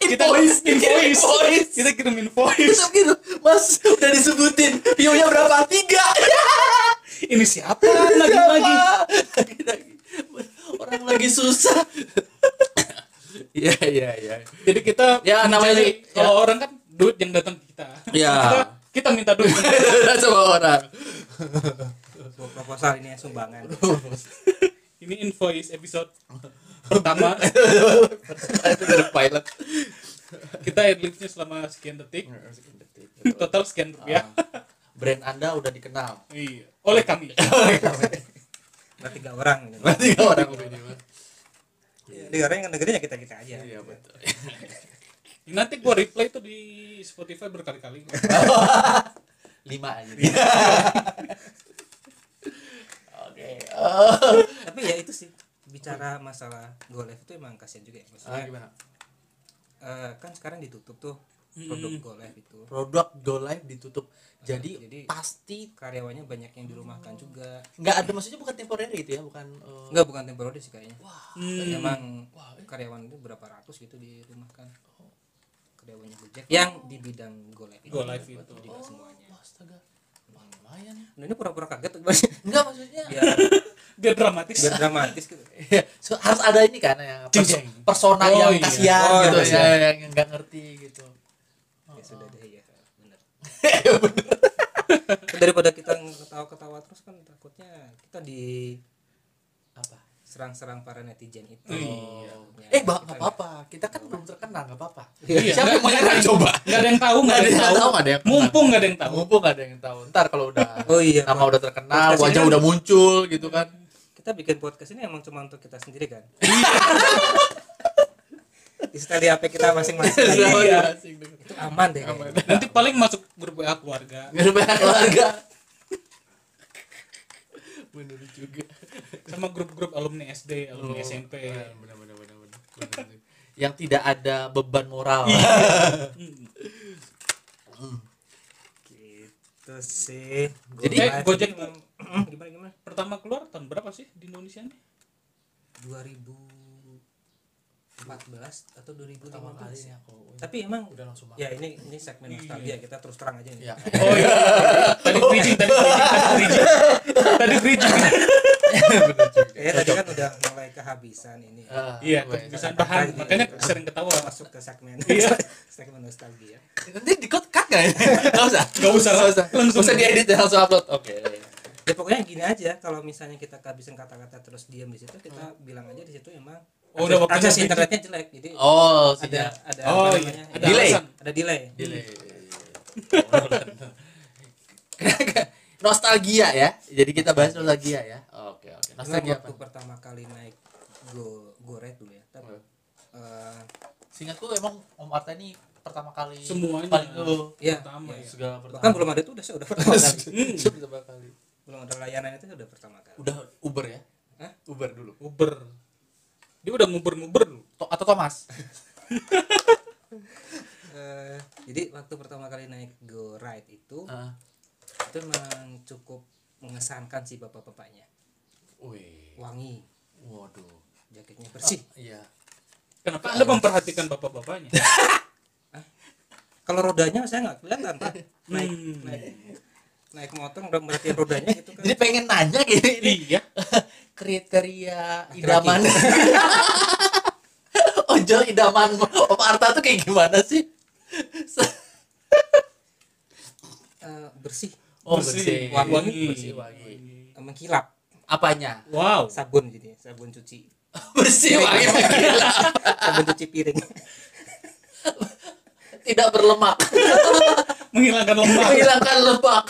S1: kita
S3: (laughs) Invoice,
S1: invoice.
S3: invoice.
S1: Kita kirim invoice.
S3: Terus gitu mas udah disebutin view-nya berapa tiga
S1: Ini siapa lagi-lagi?
S3: Lagi-lagi. orang lagi susah iya iya iya
S1: Jadi kita
S3: Ya, namanya
S1: mencari-
S3: sih,
S1: kalau orang kan duit yang datang ke kita.
S3: Ya.
S1: Kita, kita minta duit. (laughs)
S3: sama orang
S2: Sebuah proposal ini ya, sumbangan.
S1: Ini invoice episode (laughs) pertama.
S3: itu dari pilot
S1: kita adlibsnya selama sekian detik. Total sekian rupiah.
S3: Ya. brand anda udah dikenal
S1: Iya. Oleh kami.
S2: Ada tiga orang ini.
S3: tiga orang minimal
S2: Tiga orang yang negerinya kita kita aja.
S3: iya betul
S1: Nanti gua replay tuh di Spotify berkali-kali.
S3: lima aja oke eh,
S2: Tapi ya itu sih bicara masalah go live itu emang kasihan juga ya. Maksudnya,
S3: Ah, gimana
S2: eh, kan sekarang ditutup tuh
S3: Hmm.
S2: produk go live itu.
S3: produk go live ditutup Ah, jadi,
S2: Jadi-
S3: pasti
S2: Karyawannya banyak yang dirumahkan juga.
S3: nggak ada maksudnya bukan temporary itu ya bukan eh,
S2: Enggak bukan temporary sih kayaknya.
S1: Hmm.
S2: iya. Emang karyawan itu berapa ratus gitu dirumahkan. Karyawannya Gojek Oh. yang di bidang go live itu.
S1: Go live itu.
S2: Jadi nggak semuanya.
S3: Oh, astaga wah lumayan ya.
S2: Nah, ini pura-pura kaget tuh (laughs) Mas.
S3: nggak maksudnya
S2: biar,
S1: Biar dramatis.
S2: Iya, biar dramatis (laughs) gitu.
S3: Iya, (laughs) so, harus ada ini kan yang perso-
S1: Jeng-jeng.
S3: persona
S1: Oh,
S3: yang
S1: iya.
S3: kasihan
S2: Oh,
S3: gitu
S2: kasihan.
S3: ya, yang yang nggak ngerti gitu.
S2: Ya sudah deh ya. (laughs) Benar. Daripada kita ketawa-ketawa terus kan takutnya kita di
S3: Apa?
S2: serang-serang para netizen itu. Ya,
S3: eh, bah,
S2: kita
S3: nggak apa-apa. Kita kan belum terkenal, nggak apa-apa.
S1: Iya.
S3: Siapa yang mau nyerang coba?
S1: Nggak ada yang tahu, nggak ada yang tahu.
S3: nggak ada yang tahu.
S1: Mumpung nggak ada yang tahu.
S3: Mumpung nggak ada yang tahu. Ntar kalau udah
S2: Oh iya,
S3: nama udah terkenal,
S2: Podcast ini
S3: wajah
S2: kan-
S3: udah muncul gitu kan.
S2: kita bikin podcast ini emang cuma untuk kita sendiri kan. (laughs) Install di HP kita masing-masing.
S1: Iya.
S2: itu aman deh. kayaknya.
S1: Nanti paling masuk grup WA keluarga
S3: Nggak ada banyak keluarga. Bener juga.
S1: sama grup-grup alumni SD, alumni SMP.
S3: Bener, bener, bener, bener. Bener sih. Yang tidak ada beban moral.
S2: Gitu sih.
S1: Jadi,
S2: Go live
S1: Gojek
S2: ini emang- (clears throat) gimana gimana?
S1: Pertama keluar tahun berapa sih di Indonesia nih?
S2: 2014 atau
S3: Pertama kali
S2: 2015
S3: ini
S2: ya.
S3: aku
S2: Tapi emang
S3: udah langsung makan.
S2: ya ini ini segmen nostalgia kita terus terang aja nih.
S3: Iya.
S1: Oh iya. Tadi bridging, tadi bridging, tadi (laughs) bridging. Tadi bridging.
S3: Bener juga.
S2: Eh tadi kan udah mulai kehabisan ini. ya.
S3: Ah,
S1: Iya,
S3: gue-
S1: kehabisan bahan. Makanya sering ketawa.
S2: Masuk ke segmen
S3: Iya.
S2: (laughs) segmen nostalgia.
S3: Nanti di cut cut nggak ya? Nggak usah.
S1: Nggak usah,
S3: Nggak usah.
S1: langsung.
S3: Nggak usah diedit ya, langsung upload. Oke.
S2: Ya pokoknya gini aja kalau misalnya kita kehabisan kata-kata terus diam di situ
S1: Hmm.
S2: kita bilang aja di situ emang
S1: Oh, udah waktunya
S2: akses
S1: bridging.
S2: internetnya jelek. Jadi
S3: Oh,
S2: ada
S3: sinyal.
S2: ada
S1: Oh,
S2: apa
S1: iya.
S2: namanya?
S1: Ada Iya.
S3: Delay.
S1: alasan.
S2: Ada delay.
S3: Delay. (laughs) nostalgia ya. Jadi kita bahas nostalgia ya. Oke, oke.
S2: Emang
S3: Nostalgia
S2: waktu
S3: apa?
S2: pertama kali naik go go red dulu ya. Tapi
S1: Oh.
S2: eh,
S3: Seingatku emang Om Arta ini pertama kali
S1: Semuanya.
S3: paling dulu
S2: ya
S1: Pertama ya.
S3: segala pertama.
S2: bahkan belum ada tuh udah udah pertama
S1: (laughs)
S2: kali.
S3: Iya. Hmm. Pertama kali.
S2: belum ada layanan itu udah pertama kali.
S3: Udah Uber ya?
S2: Hah?
S3: Uber dulu.
S1: Uber. Dia udah nguber-nguber lu.
S3: To- atau (laughs) Thomas?
S2: Eh, jadi waktu pertama kali naik go ride itu
S1: Ah.
S3: Heeh.
S2: itu emang cukup mengesankan sih bapak-bapaknya.
S3: Wih.
S2: Wangi,
S3: Waduh.
S2: jaketnya bersih.
S3: Iya.
S1: Kenapa Anda memperhatikan bapak-bapaknya?
S2: Kalau rodanya saya nggak kelihatan
S3: (laughs)
S2: Pak. Naik
S1: Hmm.
S2: naik naik motor nggak merhatiin rodanya gitu kan.
S3: Jadi pengen nanya gini ini
S1: Iya.
S3: kriteria
S2: Laki-laki.
S3: idaman (laughs) ojol idaman Om Arta tuh kayak gimana sih?
S2: Eh, bersih,
S3: Oh,
S1: Bersih,
S3: Wangi.
S1: wangi.
S3: Bersih, wangi.
S2: eh, mengkilap.
S3: Apanya? Iya,
S1: Wow.
S2: Sabun jadi sabun cuci.
S3: Bersih wangi menggila.
S2: Sabun cuci piring. (laughs)
S3: Tidak berlemak.
S1: Menghilangkan lemak.
S3: Menghilangkan lemak.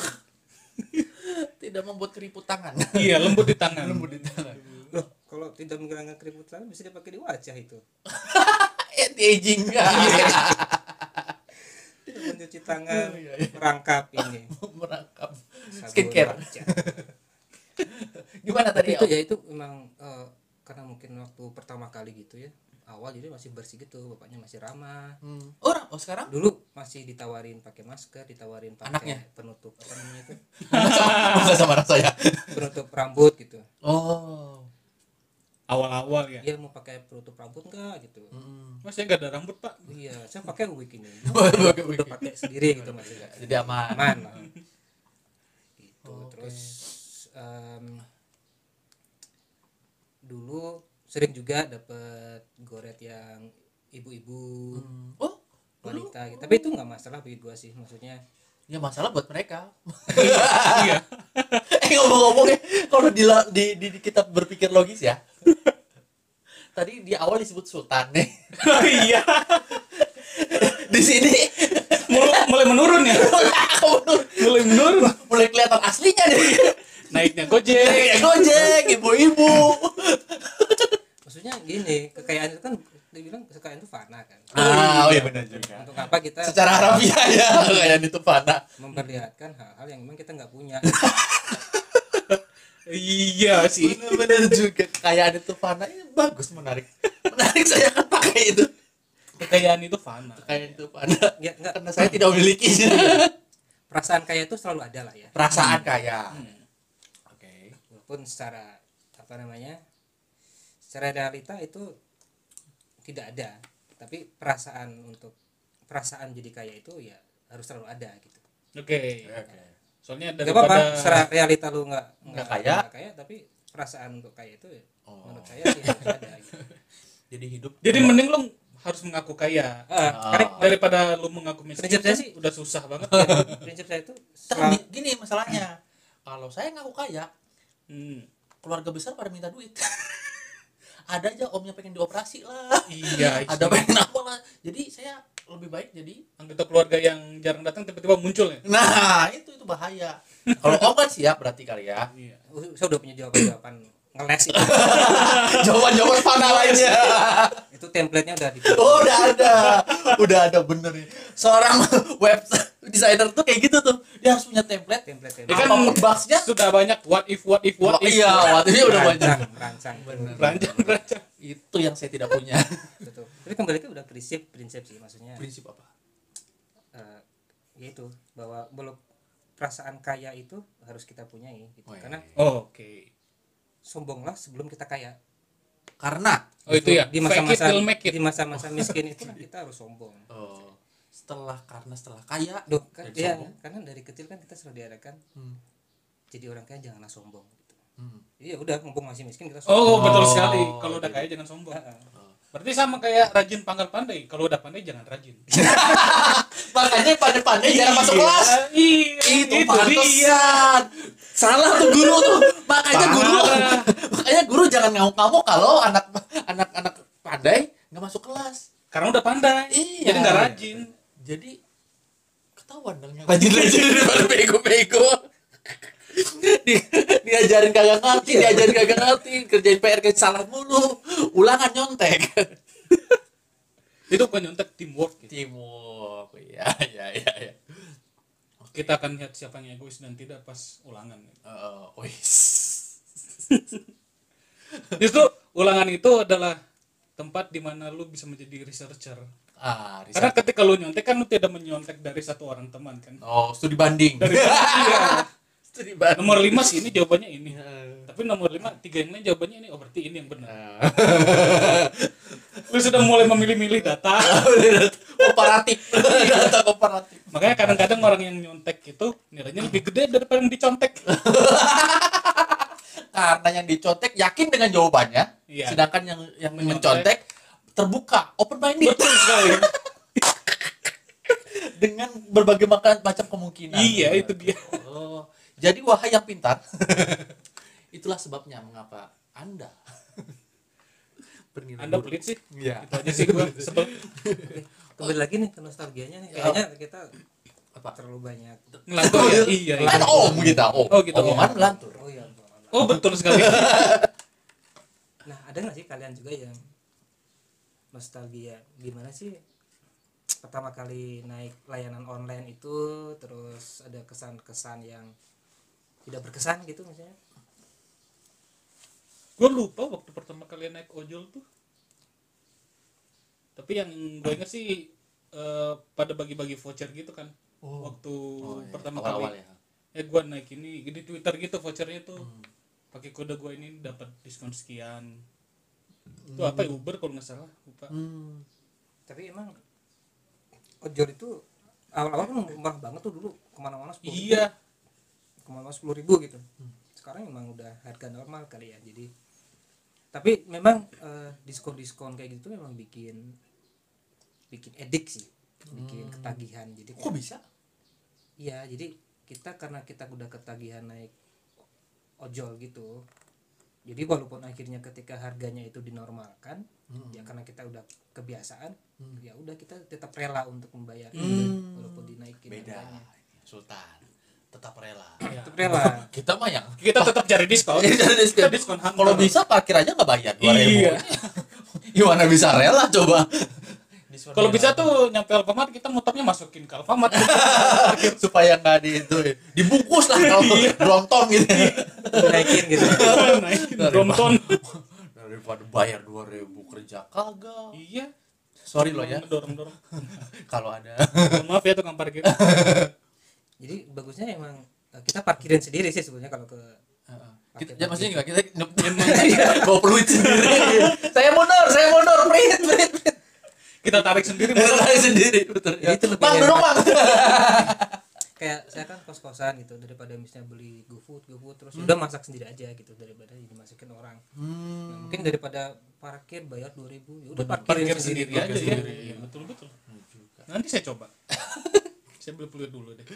S3: Tidak membuat keriput tangan. (laughs)
S1: Iya, lembut di tangan.
S2: Loh, kalau tidak menggunakan keriput tangan bisa dipakai di wajah itu.
S3: Anti aging.
S2: mencuci tangan merangkap
S3: (laughs)
S2: ini
S3: (laughs) merangkap
S2: sabun
S3: Iya, Skincare. (laughs) Iya.
S2: wajah.
S3: gimana
S2: tapi
S3: tadi
S2: itu
S3: Om?
S2: ya itu memang eh, karena mungkin waktu pertama kali gitu ya awal jadi masih bersih gitu bapaknya masih ramah
S3: Hmm. oh, Ram, oh sekarang (laughs)
S2: dulu masih ditawarin pakai masker ditawarin pakai
S3: Anaknya?
S2: penutup apa namanya itu
S3: masa sama rasanya
S2: penutup rambut gitu
S3: oh
S1: awal-awal ya
S2: dia mau pakai penutup rambut enggak gitu
S3: Mm.
S1: mas saya nggak ada rambut pak
S2: iya saya pakai wig ini
S3: (laughs) Oke, oke.
S2: udah pakai sendiri
S3: Oh,
S2: gitu masih
S3: jadi aman (laughs)
S2: aman lah gitu
S3: Oke.
S2: terus em, dulu sering juga dapet goret yang ibu-ibu
S3: Hmm. oh dulu
S2: wanita gitu. tapi itu nggak masalah bagi gua sih maksudnya
S3: ya masalah buat mereka (laughs)
S1: iya
S3: eh ngomong-ngomongnya kalau di, la- di, di, di kita berpikir logis ya (laughs) tadi di awal disebut sultan (laughs) nih
S1: iya
S3: di sini (laughs)
S1: mulai, mulai menurun ya mulai menurun
S3: mulai kelihatan aslinya nih
S1: naiknya gojek
S3: Kayak gojek ibu-ibu
S2: maksudnya gini kekayaan itu kan dibilang kekayaan itu fana kan
S3: ah oh iya benar juga
S2: untuk apa kita
S3: secara harfiah ya kayak itu fana
S2: memperlihatkan hal-hal yang memang kita nggak
S3: (laughs)
S2: punya
S1: iya sih
S3: benar juga kekayaan itu fana ini eh, bagus menarik menarik saya akan pakai itu
S1: kekayaan itu fana
S3: kekayaan itu fana
S2: ya nggak
S3: karena saya tidak memilikinya
S2: perasaan kaya itu selalu ada lah ya
S3: perasaan kaya Hmm. oke
S2: walaupun secara apa namanya secara realita itu tidak ada tapi perasaan untuk perasaan jadi kaya itu ya harus selalu ada gitu
S1: oke
S3: oke
S1: soalnya
S2: nggak apa-apa
S1: daripada
S2: secara realita lu nggak
S3: Nggak kaya.
S2: nggak kaya tapi perasaan untuk kaya itu ya,
S3: Oh.
S2: menurut saya sih harus ada gitu.
S3: (laughs) jadi hidup
S1: jadi mending lu harus mengaku kaya
S2: Ah, karena
S1: daripada lu mengaku miskin
S2: Prinsip saya
S1: kan
S2: sih-
S1: udah susah banget
S2: prinsip saya itu
S3: Tapi
S2: selalu-
S3: Nah, gini masalahnya kalau saya ngaku kaya
S1: Hmm.
S3: keluarga besar pada minta duit (laughs) ada aja omnya pengen dioperasi lah
S1: iya
S3: ada
S1: ada
S3: pengen apa lah jadi saya lebih baik jadi
S1: anggota keluarga yang jarang datang tiba-tiba muncul ya
S3: nah itu itu bahaya kalau om kan siap berarti kali ya
S1: iya
S3: (laughs)
S2: saya udah punya jawaban jawaban ngeles itu
S3: jawaban jawaban fana lainnya (laughs)
S2: itu template-nya udah dibuat
S3: oh, udah ada udah ada bener nih seorang (laughs) web designer tuh kayak gitu tuh dia harus punya template
S2: template
S1: Ya
S2: template
S1: kan
S3: Apapun bugsnya.
S1: sudah banyak what if what if what
S3: Wah,
S1: if.
S3: iya waktu itu udah banyak
S2: rancang rancang
S3: Bener.
S1: Ranjang ranjang.
S3: itu yang saya tidak punya
S2: betul tapi kembali itu udah prinsip prinsip sih maksudnya
S3: (laughs) prinsip apa
S2: eh, yaitu bahwa belum perasaan kaya itu harus kita punyai gitu.
S3: Weh.
S2: karena
S1: (laughs) Oh, Oke.
S2: sombonglah sebelum kita kaya
S3: karena
S1: Oh itu ya.
S2: di
S1: Fake it
S2: masa-masa
S1: till make it. Oh.
S2: di masa-masa miskin itu kan kita harus sombong
S3: Oh, setelah karena setelah kaya
S2: Duh, kan,
S3: Jadi
S2: ya,
S3: sombong.
S2: karena dari kecil kan kita selalu diarahkan
S3: Hmm.
S2: jadi orang kaya janganlah sombong gitu.
S3: Hmm.
S2: Jadi ya udah mumpung masih miskin kita sombong.
S1: Oh, betul
S3: Oh,
S1: sekali. Kalau udah
S3: iya.
S1: kaya jangan sombong.
S2: Ah, ah.
S1: Berarti sama kayak rajin pangkal pandai. Kalau udah pandai jangan (laughs) rajin.
S3: makanya pandai-pandai jarang masuk kelas
S1: Iya.
S3: Iya. itu,
S1: Itu, dia.
S3: pantesan salah tuh guru tuh makanya
S1: Parah.
S3: guru (laughs) makanya guru jangan ngamuk-ngamuk kalau anak anak anak pandai nggak masuk kelas
S1: Karena udah pandai.
S3: Iya.
S1: Jadi nggak rajin.
S3: jadi ketahuan dong yang rajin-rajin daripada bego-bego Di- diajarin kagak ngerti diajarin kagak ngerti kerjain PR kerjain salah mulu ulangan nyontek
S1: Itu bukan nyontek teamwork. Gitu.
S3: (laughs) timur ya ya ya, ya.
S1: Kita akan lihat siapa yang egois dan tidak pas (laughs) ulangan.
S3: Eh, wis.
S1: Justru ulangan itu adalah tempat di mana lu bisa menjadi researcher.
S3: ah
S1: Karena
S3: riset.
S1: ketika lu nyontek kan lu tidak menyontek dari satu orang teman kan.
S3: oh studi banding
S1: Dari iya.
S3: (laughs) studi banding
S1: nomor lima sih ini jawabannya ini tapi nomor lima tiga yang lain jawabannya ini oh berarti ini yang benar (laughs) lu sudah mulai memilih-milih data
S3: komparatif data komparatif
S1: makanya kadang-kadang orang yang nyontek itu nilainya lebih gede daripada yang dicontek
S3: karena yang dicontek yakin dengan jawabannya
S1: Iya.
S3: sedangkan yang yang
S1: Mencontek.
S3: mencontek terbuka open minded
S1: betul sekali
S3: dengan berbagai makan- macam kemungkinan
S1: Iya, itu dia.
S3: oh. jadi wahai yang pintar (laughs) itulah sebabnya mengapa anda (laughs) bernilai
S1: anda
S3: buruk.
S1: pelit sih
S3: Iya.
S1: itu aja sih gua sebel
S2: Kembali lagi nih ke nostalgianya nih.
S1: Ya.
S2: Kayaknya kita
S3: Apa?
S2: terlalu banyak.
S1: ngelantur ya iya, iya.
S3: kan om gitu om
S1: Oh, gitu, om.
S3: omongan lantur
S2: Oh iya. Bang.
S1: oh betul sekali
S2: Nah, ada nggak sih kalian juga yang nostalgia? Gimana sih pertama kali naik layanan online itu terus ada kesan-kesan yang tidak berkesan gitu misalnya
S1: gue lupa waktu pertama kali naik ojol tuh tapi yang gue inget sih eh, pada bagi-bagi voucher gitu kan
S3: Oh.
S1: waktu Oh, iya. pertama kali
S3: Awal-awal ya.
S1: eh gue naik ini di twitter gitu vouchernya tuh
S3: Hmm.
S1: pakai kode gue ini dapat diskon sekian itu apa ya uber kalau nggak salah lupa
S3: Hmm.
S2: tapi emang ojol itu awal-awal kan murah banget tuh dulu kemana-mana sepuluh
S1: iya
S2: kemana-mana sepuluh ribu gitu sekarang emang udah harga normal kali ya jadi tapi memang eh, diskon-diskon kayak gitu memang bikin bikin edik sih bikin ketagihan jadi
S3: Kok bisa?
S2: Iya, jadi kita karena kita udah ketagihan naik ojol gitu. Jadi walaupun akhirnya ketika harganya itu dinormalkan, ya karena kita udah kebiasaan, ya udah kita tetap rela untuk membayar gitu, walaupun dinaikin
S3: Beda.
S2: harganya.
S3: Sultan tetap rela.
S2: Tetap (laughs) rela.
S3: Kita mah yang
S1: kita tetap cari
S3: (laughs)
S1: diskon
S3: Jadi diskon.
S1: Kita diskon hunter.
S3: Kalau bisa parkir aja nggak bayar dua
S1: Iya.
S3: (laughs) Gimana bisa rela coba? (laughs)
S1: kalau bisa tuh nyampe Alfamart kita muternya masukin ke
S3: (laughs)
S1: Alfamart
S3: supaya nggak di itu ya. dibungkus lah kalau
S1: Iya.
S3: brontong gitu.
S2: dinaikin gitu.
S1: naikin
S3: Dari (laughs)
S1: Brompton
S3: Daripada bayar dua ribu kerja kagak.
S1: iya
S3: Sorry loh ya
S1: dorong dorong
S3: kalau (laughs) ada.
S1: maaf ya tukang parkir
S2: Jadi bagusnya emang eh, kita parkirin sendiri sih sebenarnya kalau ke
S3: Kita, ya, maksudnya nggak kita nyep- bawa peluit sendiri. (laughs) saya mundur, saya mundur, pelit, pelit, pelit.
S1: kita tarik sendiri
S3: Kita tarik sendiri, betul. Ya.
S2: Itu lebih
S3: Bang,
S2: hemat.
S3: duduk, bang. (laughs)
S2: kayak saya kan kos-kosan gitu daripada misalnya beli GoFood, GoFood terus udah masak sendiri aja gitu daripada dimasukin orang. Nah, mungkin daripada parkir bayar 2000 ya udah parkirin
S1: parkir sendiri
S2: sendiri.
S1: aja ya Iya, betul betul nanti saya coba (laughs) saya beli peluit dulu deh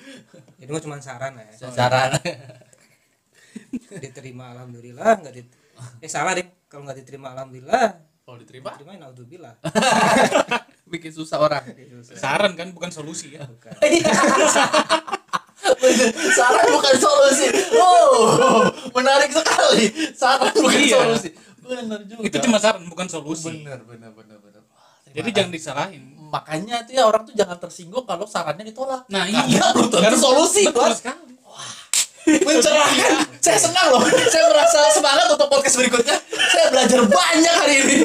S2: Jadi gua cuma saran lah ya.
S3: Saran.
S2: (laughs) Diterima alhamdulillah enggak di Eh salah deh. Kalau nggak diterima alhamdulillah,
S3: Kalau diterima,
S2: diterima ya naudzubillah. gitu.
S3: bikin susah orang.
S1: saran kan bukan solusi ya
S2: Bukan.
S3: (laughs) saran bukan solusi. Oh, menarik sekali. Saran bukan
S1: Iya.
S3: solusi. Bener juga.
S1: itu cuma saran bukan solusi
S3: bener, bener, bener, bener. Wah, terima
S1: jadi
S3: kasih.
S1: jangan disalahin
S3: makanya tuh ya orang tuh jangan tersinggung kalau sarannya ditolak.
S1: nah
S3: Karena
S1: iya
S3: belum tentu
S1: Karena-
S3: solusi,
S1: betul
S3: Bos.
S1: sekali
S3: Mencerahkan. Saya senang loh. Saya merasa semangat untuk podcast berikutnya. Saya belajar banyak hari ini.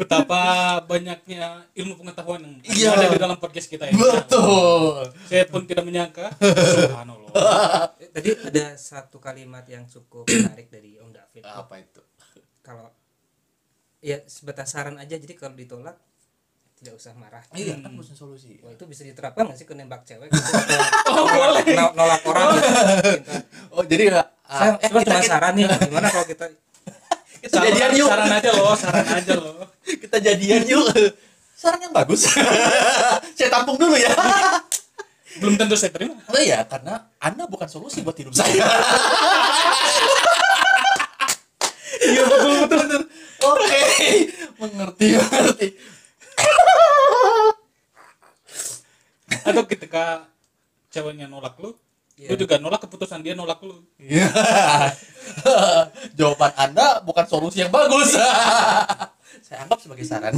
S1: betapa banyaknya ilmu pengetahuan yang
S3: Iya.
S1: ada di dalam podcast kita ya
S3: Betul.
S1: saya pun tidak menyangka (laughs) subhanallah
S2: Eh, Tadi ada satu kalimat yang cukup menarik dari Om David.
S3: Apa itu?
S2: Kalau ya sebatas saran aja jadi kalau ditolak tidak usah marah.
S3: Iya, kan bukan solusi.
S2: Wah, itu bisa diterapkan nggak sih ke nembak cewek? Gitu? (laughs) oh, boleh. Nolak, nolak orang. gitu. Cinta.
S3: Oh, jadi ya.
S2: Saya
S3: ah,
S2: cuma
S3: eh, kita,
S2: cuma
S3: kita,
S2: saran nih, gimana kalau kita
S3: kita
S1: saran,
S3: jadian yuk.
S1: saran aja loh saran aja loh
S3: kita jadian yuk saran yang (laughs) bagus saya tampung dulu ya
S1: belum tentu saya terima
S3: nah ya karena anda bukan solusi buat hidup saya iya betul betul betul oke mengerti mengerti
S1: atau ketika ceweknya nolak lu lu
S2: iya,
S1: juga nolak keputusan dia nolak lu
S3: iya (laughs) jawaban anda bukan solusi yang bagus (laughs) saya anggap sebagai saran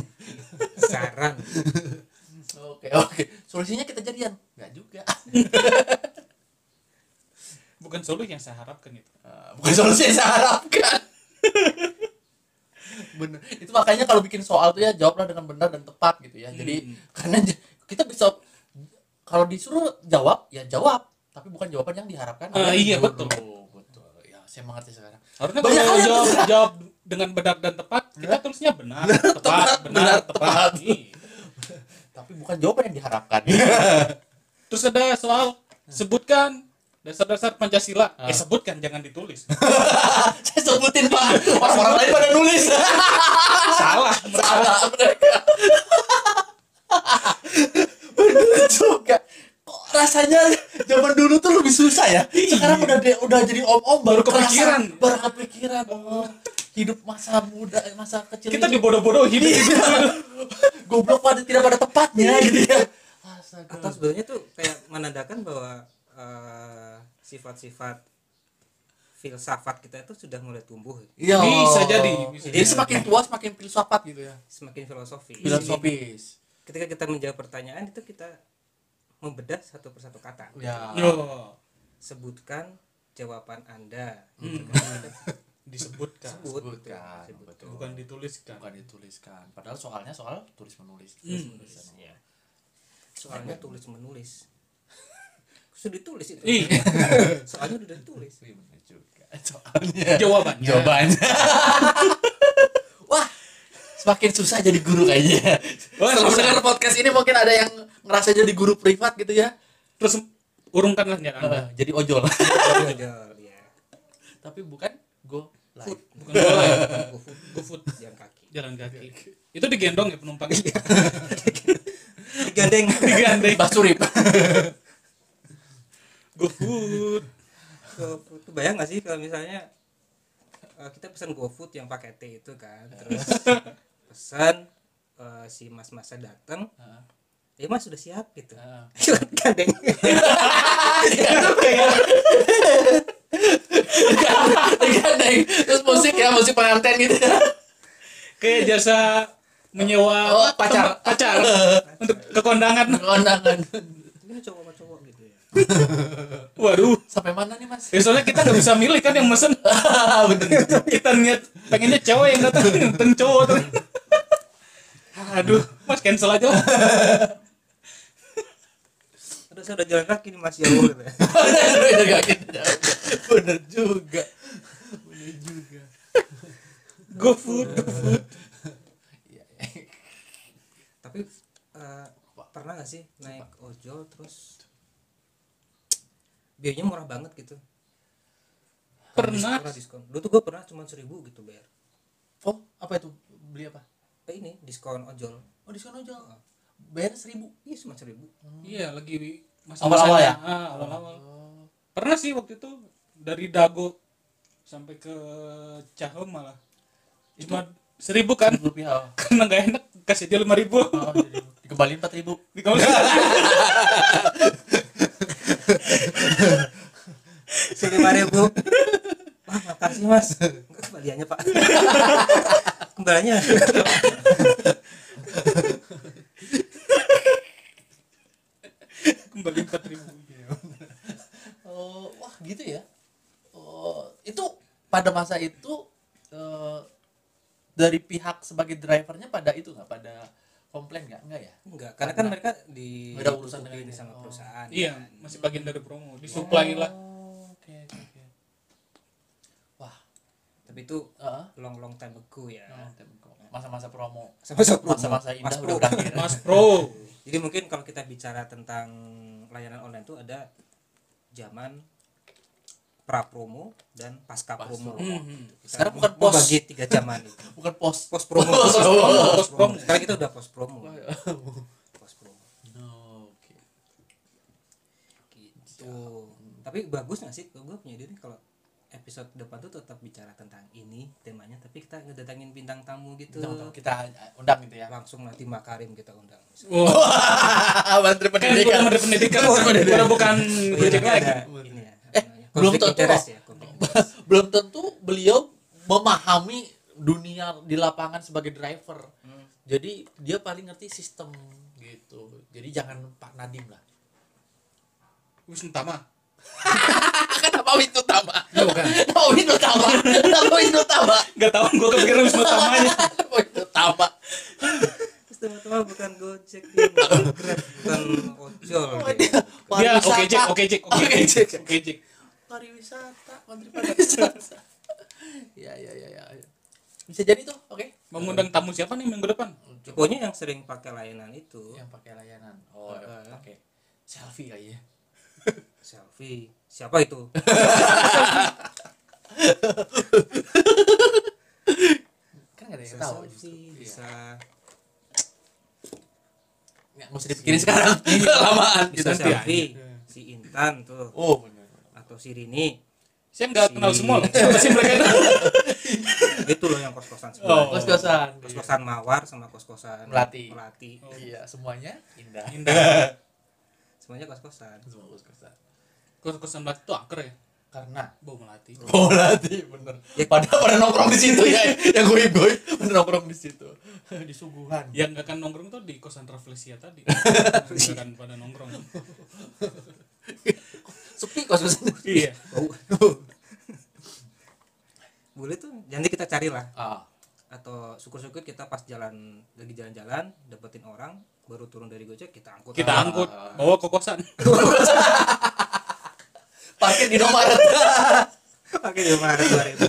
S2: saran?
S3: oke oke solusinya kita jadian nggak juga
S1: bukan solusi yang saya harapkan itu
S3: Eh, bukan solusi yang saya harapkan (laughs) bener itu makanya kalau bikin soal tuh ya jawablah dengan benar dan tepat gitu ya jadi
S1: Hmm.
S3: karena j- kita bisa kalau disuruh jawab ya jawab tapi bukan jawaban yang diharapkan
S1: Ah,
S3: oleh
S1: iya,
S3: guru.
S1: betul.
S3: betul ya saya mengerti sekarang
S1: harusnya
S3: Banyak
S1: kalau
S3: hal yang
S1: jawab jawab dengan benar dan tepat kita tulisnya benar tepat, benar,
S3: benar,
S1: tepat, Iya.
S3: tapi bukan jawaban yang diharapkan (laughs)
S1: terus ada soal sebutkan dasar-dasar pancasila eh sebutkan jangan ditulis
S3: saya sebutin pak orang-orang lain pada nulis
S1: (laughs) salah
S3: salah mereka bener juga kok rasanya zaman dulu tuh lebih susah ya sekarang udah de- udah jadi om-om
S1: Baru
S3: baru,
S1: kepikiran.
S3: kerasa- baru kepikiran oh, hidup masa muda masa kecil
S1: kita dibodoh-bodohin
S3: goblok pada tidak pada tempatnya gitu ya Astaga.
S2: Atau sebenarnya tuh kayak menandakan bahwa eh, sifat-sifat filsafat kita itu sudah mulai tumbuh,
S3: Iya.
S1: Bisa jadi, bisa
S3: jadi
S1: jadi.
S3: semakin tua semakin filsafat gitu ya
S2: semakin filosofi.
S3: filosofis
S2: ketika kita menjawab pertanyaan itu kita membedah satu persatu kata
S3: Ya.
S1: Yo,
S2: sebutkan jawaban anda Gitu kan.
S1: disebutkan
S2: sebut betul,
S3: Sebutkan,
S2: sebut.
S3: betul.
S1: bukan dituliskan.
S3: Bukan dituliskan. Padahal soalnya soal tulis menulis.
S2: Iya. soalnya tulis (laughs) menulis sudah ditulis itu
S1: Ih,
S2: (laughs) soalnya sudah ditulis
S3: Iya, bener juga. (laughs) Soalnya.
S1: jawabannya.
S3: Jawabannya. (laughs) Wah, semakin susah jadi guru kayaknya.
S1: Wah,
S3: Setelah
S1: susah.
S3: mendengar podcast ini mungkin ada yang ngerasa jadi guru privat gitu ya.
S1: Terus urungkanlah niat Anda.
S3: Eh, jadi ojol.
S2: Jodol, ya
S3: (laughs) Tapi bukan go live.
S1: Bukan
S2: ya?
S1: jalan,
S2: GoFood
S1: GoFood.
S2: yang kaki
S1: jalan kaki. Itu digendong ya penumpangnya.
S2: (laughs) digandeng
S1: Digandeng.
S3: Mbak Surip. (laughs)
S1: GoFood.
S2: GoFood Tuh bayang gak sih kalau misalnya eh, kita pesan GoFood yang pakai T itu kan terus pesan eh, si mas-masa datang eh mas sudah siap gitu (laughs) gandeng
S3: Digandeng. Iya, Terus musik ya, musik pengantin gitu.
S1: Kayak jasa menyewa
S3: Oh, pacar.
S1: tempat- (laughs) pacar untuk kekondangan.
S3: Kondangan.
S2: ini cowok sama cowok gitu ya
S1: Waduh.
S3: Sampai mana nih, Mas?
S1: Ya soalnya kita nggak bisa milih kan yang mesen. (laughs) kita niat pengennya cowok yang datang, ten cowok tuh. Aduh, mas cancel aja lah.
S2: terus saya udah jalan kaki nih mas ya Allah, gitu ya.
S3: (laughs) Bener juga. (laughs) Bener juga. Bener juga.
S1: Go food, go food.
S2: tapi eh, pernah gak sih naik ojol terus biayanya murah banget gitu
S1: Pernah.
S2: murah diskon dulu tuh gue pernah cuma seribu gitu bayar
S3: Oh, apa itu? Beli apa?
S2: eh, ini diskon ojol
S3: Oh, diskon ojol. Bayar seribu.
S2: iya cuma seribu (laughs)
S1: Iya lagi masa
S3: Awal-awal ya?
S1: awal awal. Pernah sih waktu itu dari Dago sampai ke Cahem malah. Cuma seribu kan? (laughs)
S3: Seribu rupiah.
S1: Karena nggak enak kasih dia lima ribu.
S3: Oh, jadi dikembaliin empat ribu.
S1: (laughs) Di
S3: (laughs)
S1: kamar.
S2: Sini lima ribu wah makasih mas enggak kembaliannya
S3: (laughs)
S2: pak kembaliannya
S1: kembali empat ribu.
S3: Iya. Oh, wah gitu ya. Oh, itu pada masa itu eh, dari pihak sebagai drivernya pada itu nggak pada komplain nggak nggak ya?
S2: enggak karena kan mereka di
S3: Nggak ada urusan dengan
S2: tutupin
S3: ini.
S2: sama
S3: Oh.
S2: perusahaan
S1: Iya, masih bagian dari promo. Disuplai lah.
S3: Oh, Oke oke oke. Wah,
S2: tapi itu
S3: ah,
S2: long long time ago ya
S3: ah, tembok. masa-masa promo.
S2: Masa-masa promo.
S3: Masa-masa indah
S2: Mas Pro.
S3: udah berakhir.
S1: Mas Pro.
S2: jadi mungkin kalau kita bicara tentang layanan online itu ada zaman pra promo dan pasca
S3: Pas
S2: promo
S3: promo.
S2: Gitu. Kita
S3: Sekarang bukan pos.
S2: membagi tiga zaman itu
S3: Bukan (laughs) pos.
S2: post promo
S3: Post
S2: post
S3: promo. Oh, iya.
S2: promo post promo sekarang kita udah post promo
S3: (laughs)
S2: post promo
S3: No, oke.
S2: gitu tapi bagus nggak sih gue punya ide nih kalau episode depan tuh tetap bicara tentang ini temanya tapi kita ngedatangin bintang tamu gitu
S3: Kita, kita undang gitu ya. (laughs)
S2: langsung nanti Makarim kita undang misalnya.
S1: Wah, kan udah
S3: Menteri Pendidikan.
S1: menteri pendidikan, udah bukan
S2: Oh, iya,
S1: Gojek
S2: nanti
S1: lagi.
S2: ada ini ya namanya,
S3: Eh, belum
S2: konflik
S3: tentu
S2: interest
S3: loh.
S2: ya konflik
S3: (laughs) belum tentu beliau memahami dunia di lapangan sebagai driver. Jadi dia paling ngerti sistem gitu. Jadi jangan Pak Nadim lah.
S1: Wis entama.
S3: (laughs) Kenapa Windu Tama? Kenapa Windu Tama? Kenapa Windu Tama?
S1: Gak tau, gue kepikiran Wisnu Tama
S3: (laughs)
S1: aja
S3: Kenapa Windu Tama?
S2: terus teman-teman bukan gojek dia bukan (laughs) grab kan. bukan ojol gitu. dia.
S1: Dia Iya, oke Jack, oke Jack, oke
S3: Oke,
S1: Jack,
S3: Jack.
S1: oke Jack
S3: Pariwisata, Menteri Pariwisata. (laughs) ya, ya, ya, ya. Bisa jadi tuh, oke?
S1: Mengundang tamu siapa nih minggu (laughs) depan?
S2: pokoknya yang sering pakai layanan itu
S3: Yang pakai layanan. Oh,
S2: Heeh.
S3: pakai selfie ya. kayaknya.
S2: selfie siapa itu
S3: Kan gak ada yang
S2: bisa
S3: tahu. justru.
S2: selfie
S3: Iya.
S2: bisa
S3: nggak mesti dipikirin sekarang lamaan
S2: bisa
S3: gitu
S2: selfie si Intan tuh
S3: oh benar
S2: atau si Rini
S1: Saya nggak
S2: Si-
S1: kenal semua loh, siapa sih mereka itu?
S2: itu loh yang kos-kosan
S3: oh,
S2: sebelah
S3: kos kosan
S2: kos-kosan mawar sama kos-kosan
S3: Melati.
S2: melati
S3: iya semuanya indah
S1: (laughs) Indah
S2: semuanya kos-kosan
S3: semua kos kosan
S1: Kos-kosan melati itu angker ya?
S3: karena
S1: Bau melati
S3: (laughs) oh nanti bener
S2: Ya.
S3: (laughs) pada pada ya nongkrong (laughs) di situ ya yang gue gue bener nongkrong di situ
S4: di suguhan
S1: yang gak akan nongkrong tuh di kosan Rafflesia (laughs) tadi Nggak akan pada nongkrong
S3: sepi kok sebenarnya
S1: iya
S3: Oh.
S2: (laughs) boleh tuh nanti kita carilah
S3: ah
S2: atau syukur-syukur kita pas jalan lagi jalan-jalan dapetin orang baru turun dari gojek kita angkut
S1: kita
S2: Ah,
S1: angkut bawa ke kosan
S3: parkir di nomor
S2: parkir di Indomaret 2000. Eh,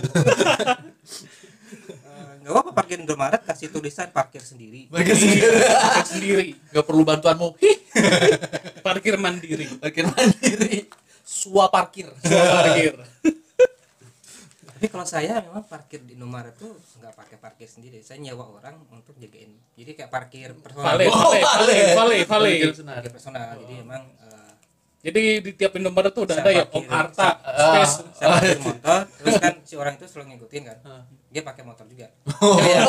S2: nggak apa-apa parkir di Indomaret kasih tulisan parkir sendiri
S3: (laughs) parkir sendiri
S1: Angkut sendiri
S3: (laughs) nggak perlu bantuanmu Hih,
S1: parkir mandiri
S3: parkir mandiri sua parkir
S1: parkir
S2: tapi kalau saya memang parkir di Indomaret tuh nggak pakai parkir sendiri saya nyewa orang untuk jagain jadi kayak parkir personal
S1: vale
S3: Oh,
S1: vale vale vale vale
S2: parkir personal jadi emang eh,
S1: jadi di tiap Indomaret tuh udah
S2: Saya
S1: ada ya
S2: parkir.
S3: gitu.
S1: Om Arta
S3: Ah.
S1: space
S2: saya parkir motor terus kan si orang itu selalu ngikutin kan dia pakai motor juga
S3: (laughs)
S2: Iya,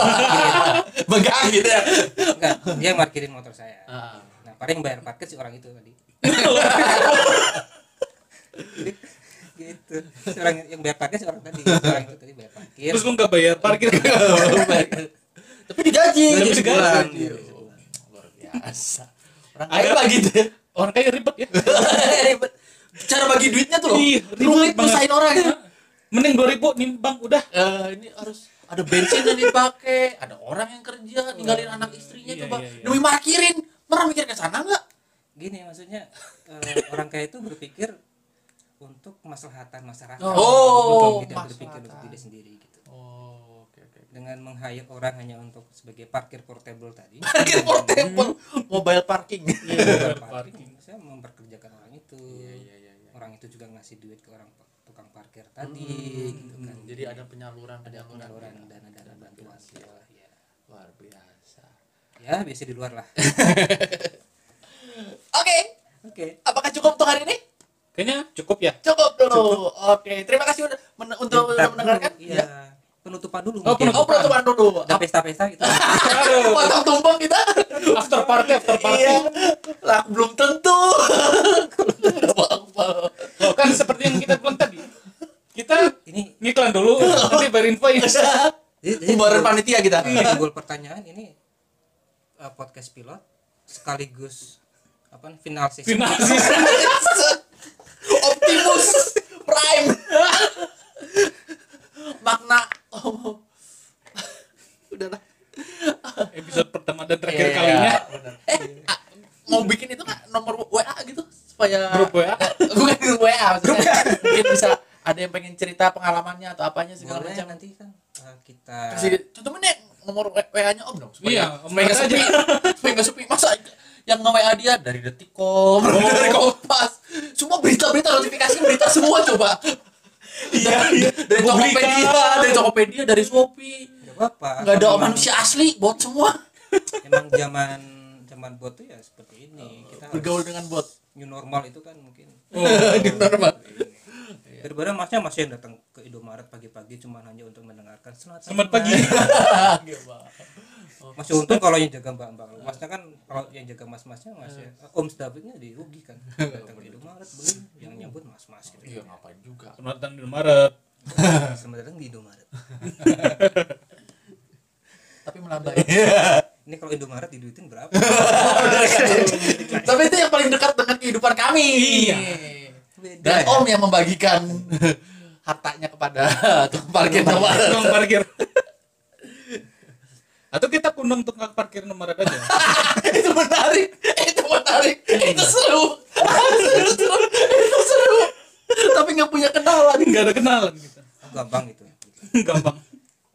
S3: bengkak gitu ya
S2: enggak dia parkirin motor saya
S3: Ah.
S2: nah paling bayar parkir si orang itu tadi gitu si orang yang bayar parkir si orang tadi si orang itu tadi bayar parkir
S1: terus lu nggak bayar
S3: (laughs)
S1: parkir
S3: tapi digaji
S2: Gaji
S3: Tapi
S2: sebulan.
S3: digaji. Oh, luar biasa orang kaya lagi gitu ya.
S1: orang kaya ribet ya
S3: (laughs) Ribet. cara bagi duitnya tuh loh
S1: Iya, ribet
S3: rumit
S1: banget.
S3: pisahin orang ya
S1: mending dua ribu nih bang udah
S3: Eh, ini harus ada bensin yang dipakai ada orang yang kerja ninggalin anak istrinya
S1: Iya,
S3: coba
S1: iya, iya.
S3: demi parkirin pernah mikir ke sana nggak
S2: gini maksudnya eh, orang kaya itu berpikir untuk kemaslahatan masyarakat
S3: Oh,
S2: bukan tidak berpikir
S3: maslahatan.
S2: untuk diri sendiri gitu
S3: oh oke oke
S2: dengan meng-hire orang hanya untuk sebagai parkir portable tadi
S3: (laughs) parkir portable mobile parking
S2: Iya,
S1: parking.
S2: parking. Saya memperkerjakan orang itu.
S3: iya,
S2: Orang itu juga ngasih duit ke orang pe- tukang parkir tadi
S3: Hmm,
S2: gitu kan.
S3: jadi ada penyaluran penyaluran
S2: penyaluran dana-dana bantuan gitu lah, ya.
S3: luar biasa
S2: Ya, biasa di luar lah.
S3: oke
S2: Oke.
S3: apakah cukup untuk hari ini
S1: kayaknya cukup
S3: (laughs)
S1: ya
S3: cukup dulu oke terima kasih udah men- untuk
S2: Bentar dulu,
S3: mendengarkan Ya.
S2: Iya. Penutupan dulu.
S1: Oh,
S2: mungkin.
S3: oh penutupan Ah. dulu
S2: Ada pesta-pesta gitu.
S3: (laughs) potong tumpeng kita
S1: after party after party
S3: iya lah belum tentu Apa-apa.
S1: Loh, kan seperti yang kita bilang tadi kita
S2: Ini
S1: ngiklan
S3: (laughs)
S1: dulu nanti ya. bayarin invoice
S3: Pembaruan
S2: timbul-
S3: panitia kita
S2: timbul pertanyaan ini eh, podcast pilot sekaligus apa final Iya, season.
S1: final season
S3: (laughs) Optimus Prime makna oh. udah lah
S1: episode pertama dan
S3: Iya,
S1: terakhir ya.
S3: iya,
S1: kalinya
S3: bener. eh ah, mau bikin itu nggak nomor WA gitu supaya
S1: grup WA
S3: (laughs) bukan grup WA maksudnya mungkin bisa ada yang pengen cerita pengalamannya atau apanya segala
S2: Boleh
S3: macam
S2: nanti kan eh, kita
S3: kasih contoh mana nomor WA nya om dong
S1: Iya,
S3: supaya
S1: Om
S3: supaya
S1: Mat
S3: nggak sepi
S1: aja.
S3: supaya nggak sepi masa yang nge WA dia dari detikkom (laughs) dari kompas semua berita berita notifikasi berita semua coba iya, iya. dari
S1: Publikan.
S3: Tokopedia dari Tokopedia dari Shopee
S2: Nggak apa-apa.
S3: nggak ada
S2: Kalau memang-
S3: manusia asli bot semua (laughs)
S2: emang zaman zaman bot tuh ya seperti ini kita
S3: bergaul
S2: harus-
S3: dengan bot
S2: new normal itu kan
S3: (laughs)
S2: mungkin Iya.
S3: di normal
S2: daripada masnya masih yang datang ke Indomaret pagi-pagi cuma hanya untuk mendengarkan selamat
S1: selamat pagi
S2: (laughs)
S3: Iya,
S2: masih untung kalau yang jaga mbak mbak masnya kan kalau yang jaga mas masnya
S3: Iya.
S2: masih om Davidnya
S3: (laughs)
S2: dirugikan datang ke Indomaret beli yang nyambut mas mas gitu
S3: iya ngapain juga
S1: selamat datang di Maret
S2: selamat datang di Indomaret
S3: tapi melambai
S2: ini kalau Indomaret diduitin
S3: (laughs)
S2: berapa
S3: tapi itu yang paling dekat dengan kehidupan kami
S1: Iya.
S3: dan
S2: beda ya.
S3: om yang membagikan (laughs) hartanya kepada tukang parkir Indomaret.
S1: tukang parkir (laughs) atau kita kundang tukang parkir nomor aja
S3: (laughs) itu menarik itu menarik itu seru seru seru itu seru tapi nggak punya kenalan
S1: nggak ada kenalan kita
S2: gampang gitu
S1: gampang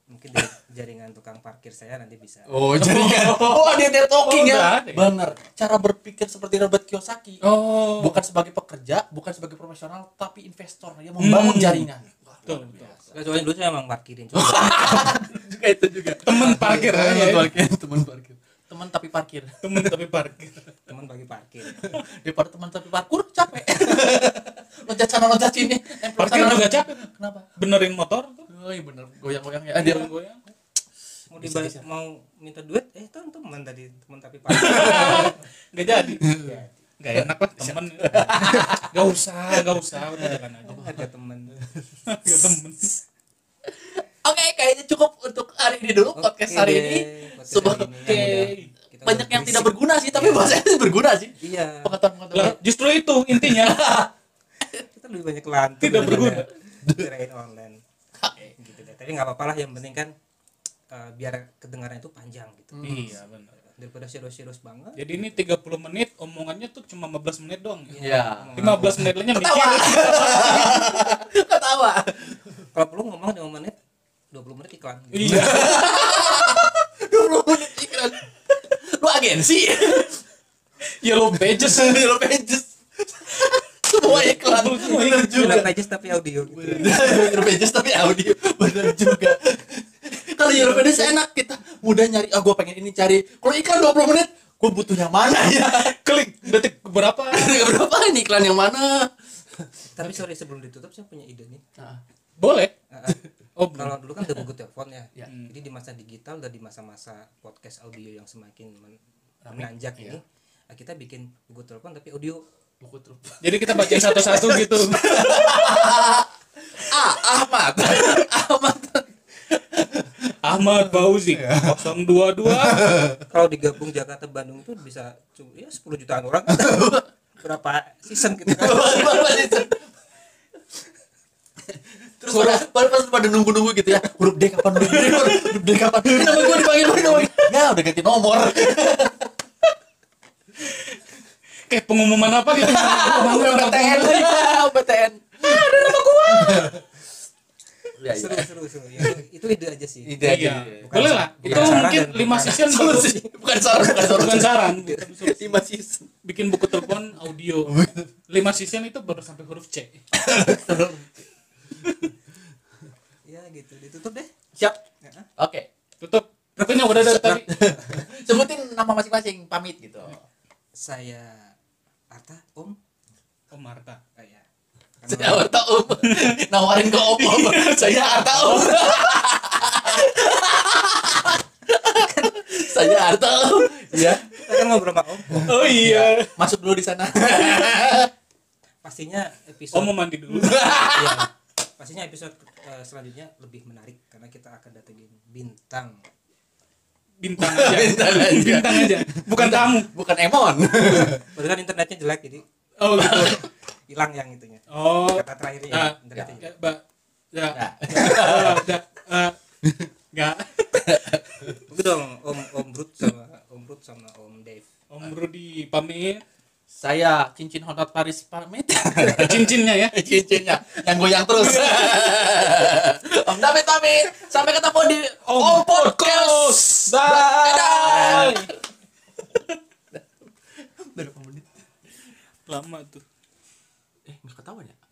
S2: mungkin dari jaringan tukang parkir saya nanti bisa
S3: oh jadi oh dia dia
S1: Oh,
S3: talking ya
S1: menarik.
S3: bener cara berpikir seperti Robert Kiyosaki
S1: oh
S3: bukan sebagai pekerja bukan sebagai profesional tapi investor yang membangun
S1: Hmm.
S3: jaringan Wah,
S1: Betul,
S3: luar
S1: betul.
S3: biasa.
S2: Nggak, soalnya dulu saya emang
S3: (laughs)
S2: parkirin cuma
S3: juga itu juga
S1: Temen parkir,
S3: teman
S1: ya.
S3: parkir teman parkir Iya, teman tapi parkir
S1: temen tapi parkir
S2: teman bagi
S3: (laughs)
S2: parkir
S3: daripada teman tapi parkur capek (laughs) loncat sana loncat sini nempel
S1: Parkir
S3: sana.
S1: juga capek.
S3: kenapa
S1: benerin motor tuh
S3: Oh iya bener, goyang-goyang ya. Ah, Dia
S1: goyang
S2: mau
S3: Bisa,
S2: dibayar
S3: bisa.
S2: mau minta duit eh itu teman tadi teman tapi pak
S3: (laughs)
S1: nggak jadi Iya. nggak enak lah temen nggak usah nggak usah udah jalan aja
S2: harga teman
S1: ya temen
S3: Oke, kayaknya cukup untuk hari ini dulu podcast
S2: Oke
S3: hari
S2: deh.
S3: ini.
S2: podcast
S3: Sebab-
S2: hari ini yang
S1: Oke.
S2: udah kita
S3: banyak
S2: udah
S3: yang tidak
S2: berisik.
S3: berguna sih tapi bahasanya berguna sih
S2: iya
S1: Lah,
S3: pengetahuan
S1: justru itu intinya. (laughs)
S2: kita lebih banyak lantun
S1: Tidak berguna.
S2: daripada kirain online gitu deh tapi nggak apa-apa lah yang penting kan eh, biar kedengarannya itu panjang gitu
S3: Hmm.
S1: iya, benar.
S2: daripada serius-serius banget
S1: Jadi ini 30 menit omongannya tuh cuma 15 menit doang. ya?
S3: Iya.
S2: ngomong-
S1: 15 menit lainnya mikir.
S3: ketawa
S2: kalau perlu ngomong 5 menit 20 menit iklan gitu.
S1: Iya.
S3: 20 menit iklan lu agensi Ya,
S1: Yellow pages.
S3: lu pages semua iklan bener juga
S2: Iklan aja tapi audio gitu
S3: Euro pages tapi audio bener juga kalau Euro pages enak kita mudah nyari ah gue pengen ini cari kalau iklan 20 menit gue butuh yang mana ya
S1: Klik detik berapa?
S3: (laughs) berapa ini iklan yang mana
S2: tapi sorry sebelum ditutup saya punya ide nih
S3: Nah,
S1: Boleh.
S2: Eh,
S3: (laughs)
S1: Oh, belum.
S2: kalau dulu kan udah buku telepon ya
S3: Ya.
S2: jadi di masa digital dan di masa-masa podcast audio yang semakin men- menanjak ini eh, kita bikin buku telepon tapi audio
S3: buku telepon
S1: Jadi kita (laughs) bacain satu-satu gitu.
S3: ah Ahmad (laughs) Ahmad
S1: Ahmad Fauzi 022
S2: kalau digabung Jakarta Bandung itu bisa cu- ya 10 jutaan orang berapa season gitu
S3: Iya.
S2: kan
S3: terus pada pada pas pada nunggu nunggu gitu ya huruf D kapan huruf D kapan huruf D kapan ini nama gue dipanggil ini nama gua. ya udah ganti nomor
S1: kayak pengumuman apa (laughs) gitu. Pengumuman apa?
S3: (laughs) UPTN UPTN ada nama gue ya,
S2: seru
S3: iya.
S2: seru seru ya, itu ide aja sih
S3: Ide aja.
S1: Iya. Boleh lah.
S2: Bukan
S1: Itu
S2: saran
S1: mungkin 5
S2: dan bukan
S1: season
S3: solusi bukan saran bukan saran
S1: bukan saran.
S3: lima season
S1: Bikin buku telepon audio. 5 season itu baru sampai huruf C.
S2: ya gitu ditutup deh
S3: siap oke
S1: Tutup. Rupanya udah dari tadi.
S3: sebutin nama masing-masing pamit gitu
S2: saya Arta Om
S1: Oh, Marta.
S2: oh, ya.
S3: saya Arta Om nawarin ke Om Om saya Arta Om saya Arta Om ya
S2: kita kan ngobrol sama Om
S1: Oh iya.
S3: masuk dulu di sana
S2: pastinya episode
S1: Om Oh, mau mandi (laughs) dulu.
S2: Iya. (laughs) pastinya episode eh, selanjutnya lebih menarik karena kita akan datengin bintang
S1: Bintang aja.
S3: Bintang aja.
S1: Bintang aja. Bukan tamu.
S3: bukan Emon
S2: padahal kan internetnya jelek jadi
S1: Oh gitu.
S2: hilang yang itunya
S1: Oh.
S2: kata terakhirnya
S1: Ah,
S2: internetnya
S1: Ya,
S2: jelek.
S1: Mbak. Ya.
S3: Nah,
S1: Eh, Ya. eh, Enggak.
S2: Itu dong Om Om Brut sama Om Brut sama Om Dave
S1: Om Rudi (laughs) pamit.
S3: saya cincin Honda Paris pamit
S1: Cincinnya ya.
S3: (laughs) cincinnya yang goyang terus Om David pamit sampai ketemu di Om, Podcast
S1: Bye.
S3: berapa menit
S1: Lama tuh.
S3: eh nggak ketahuan ya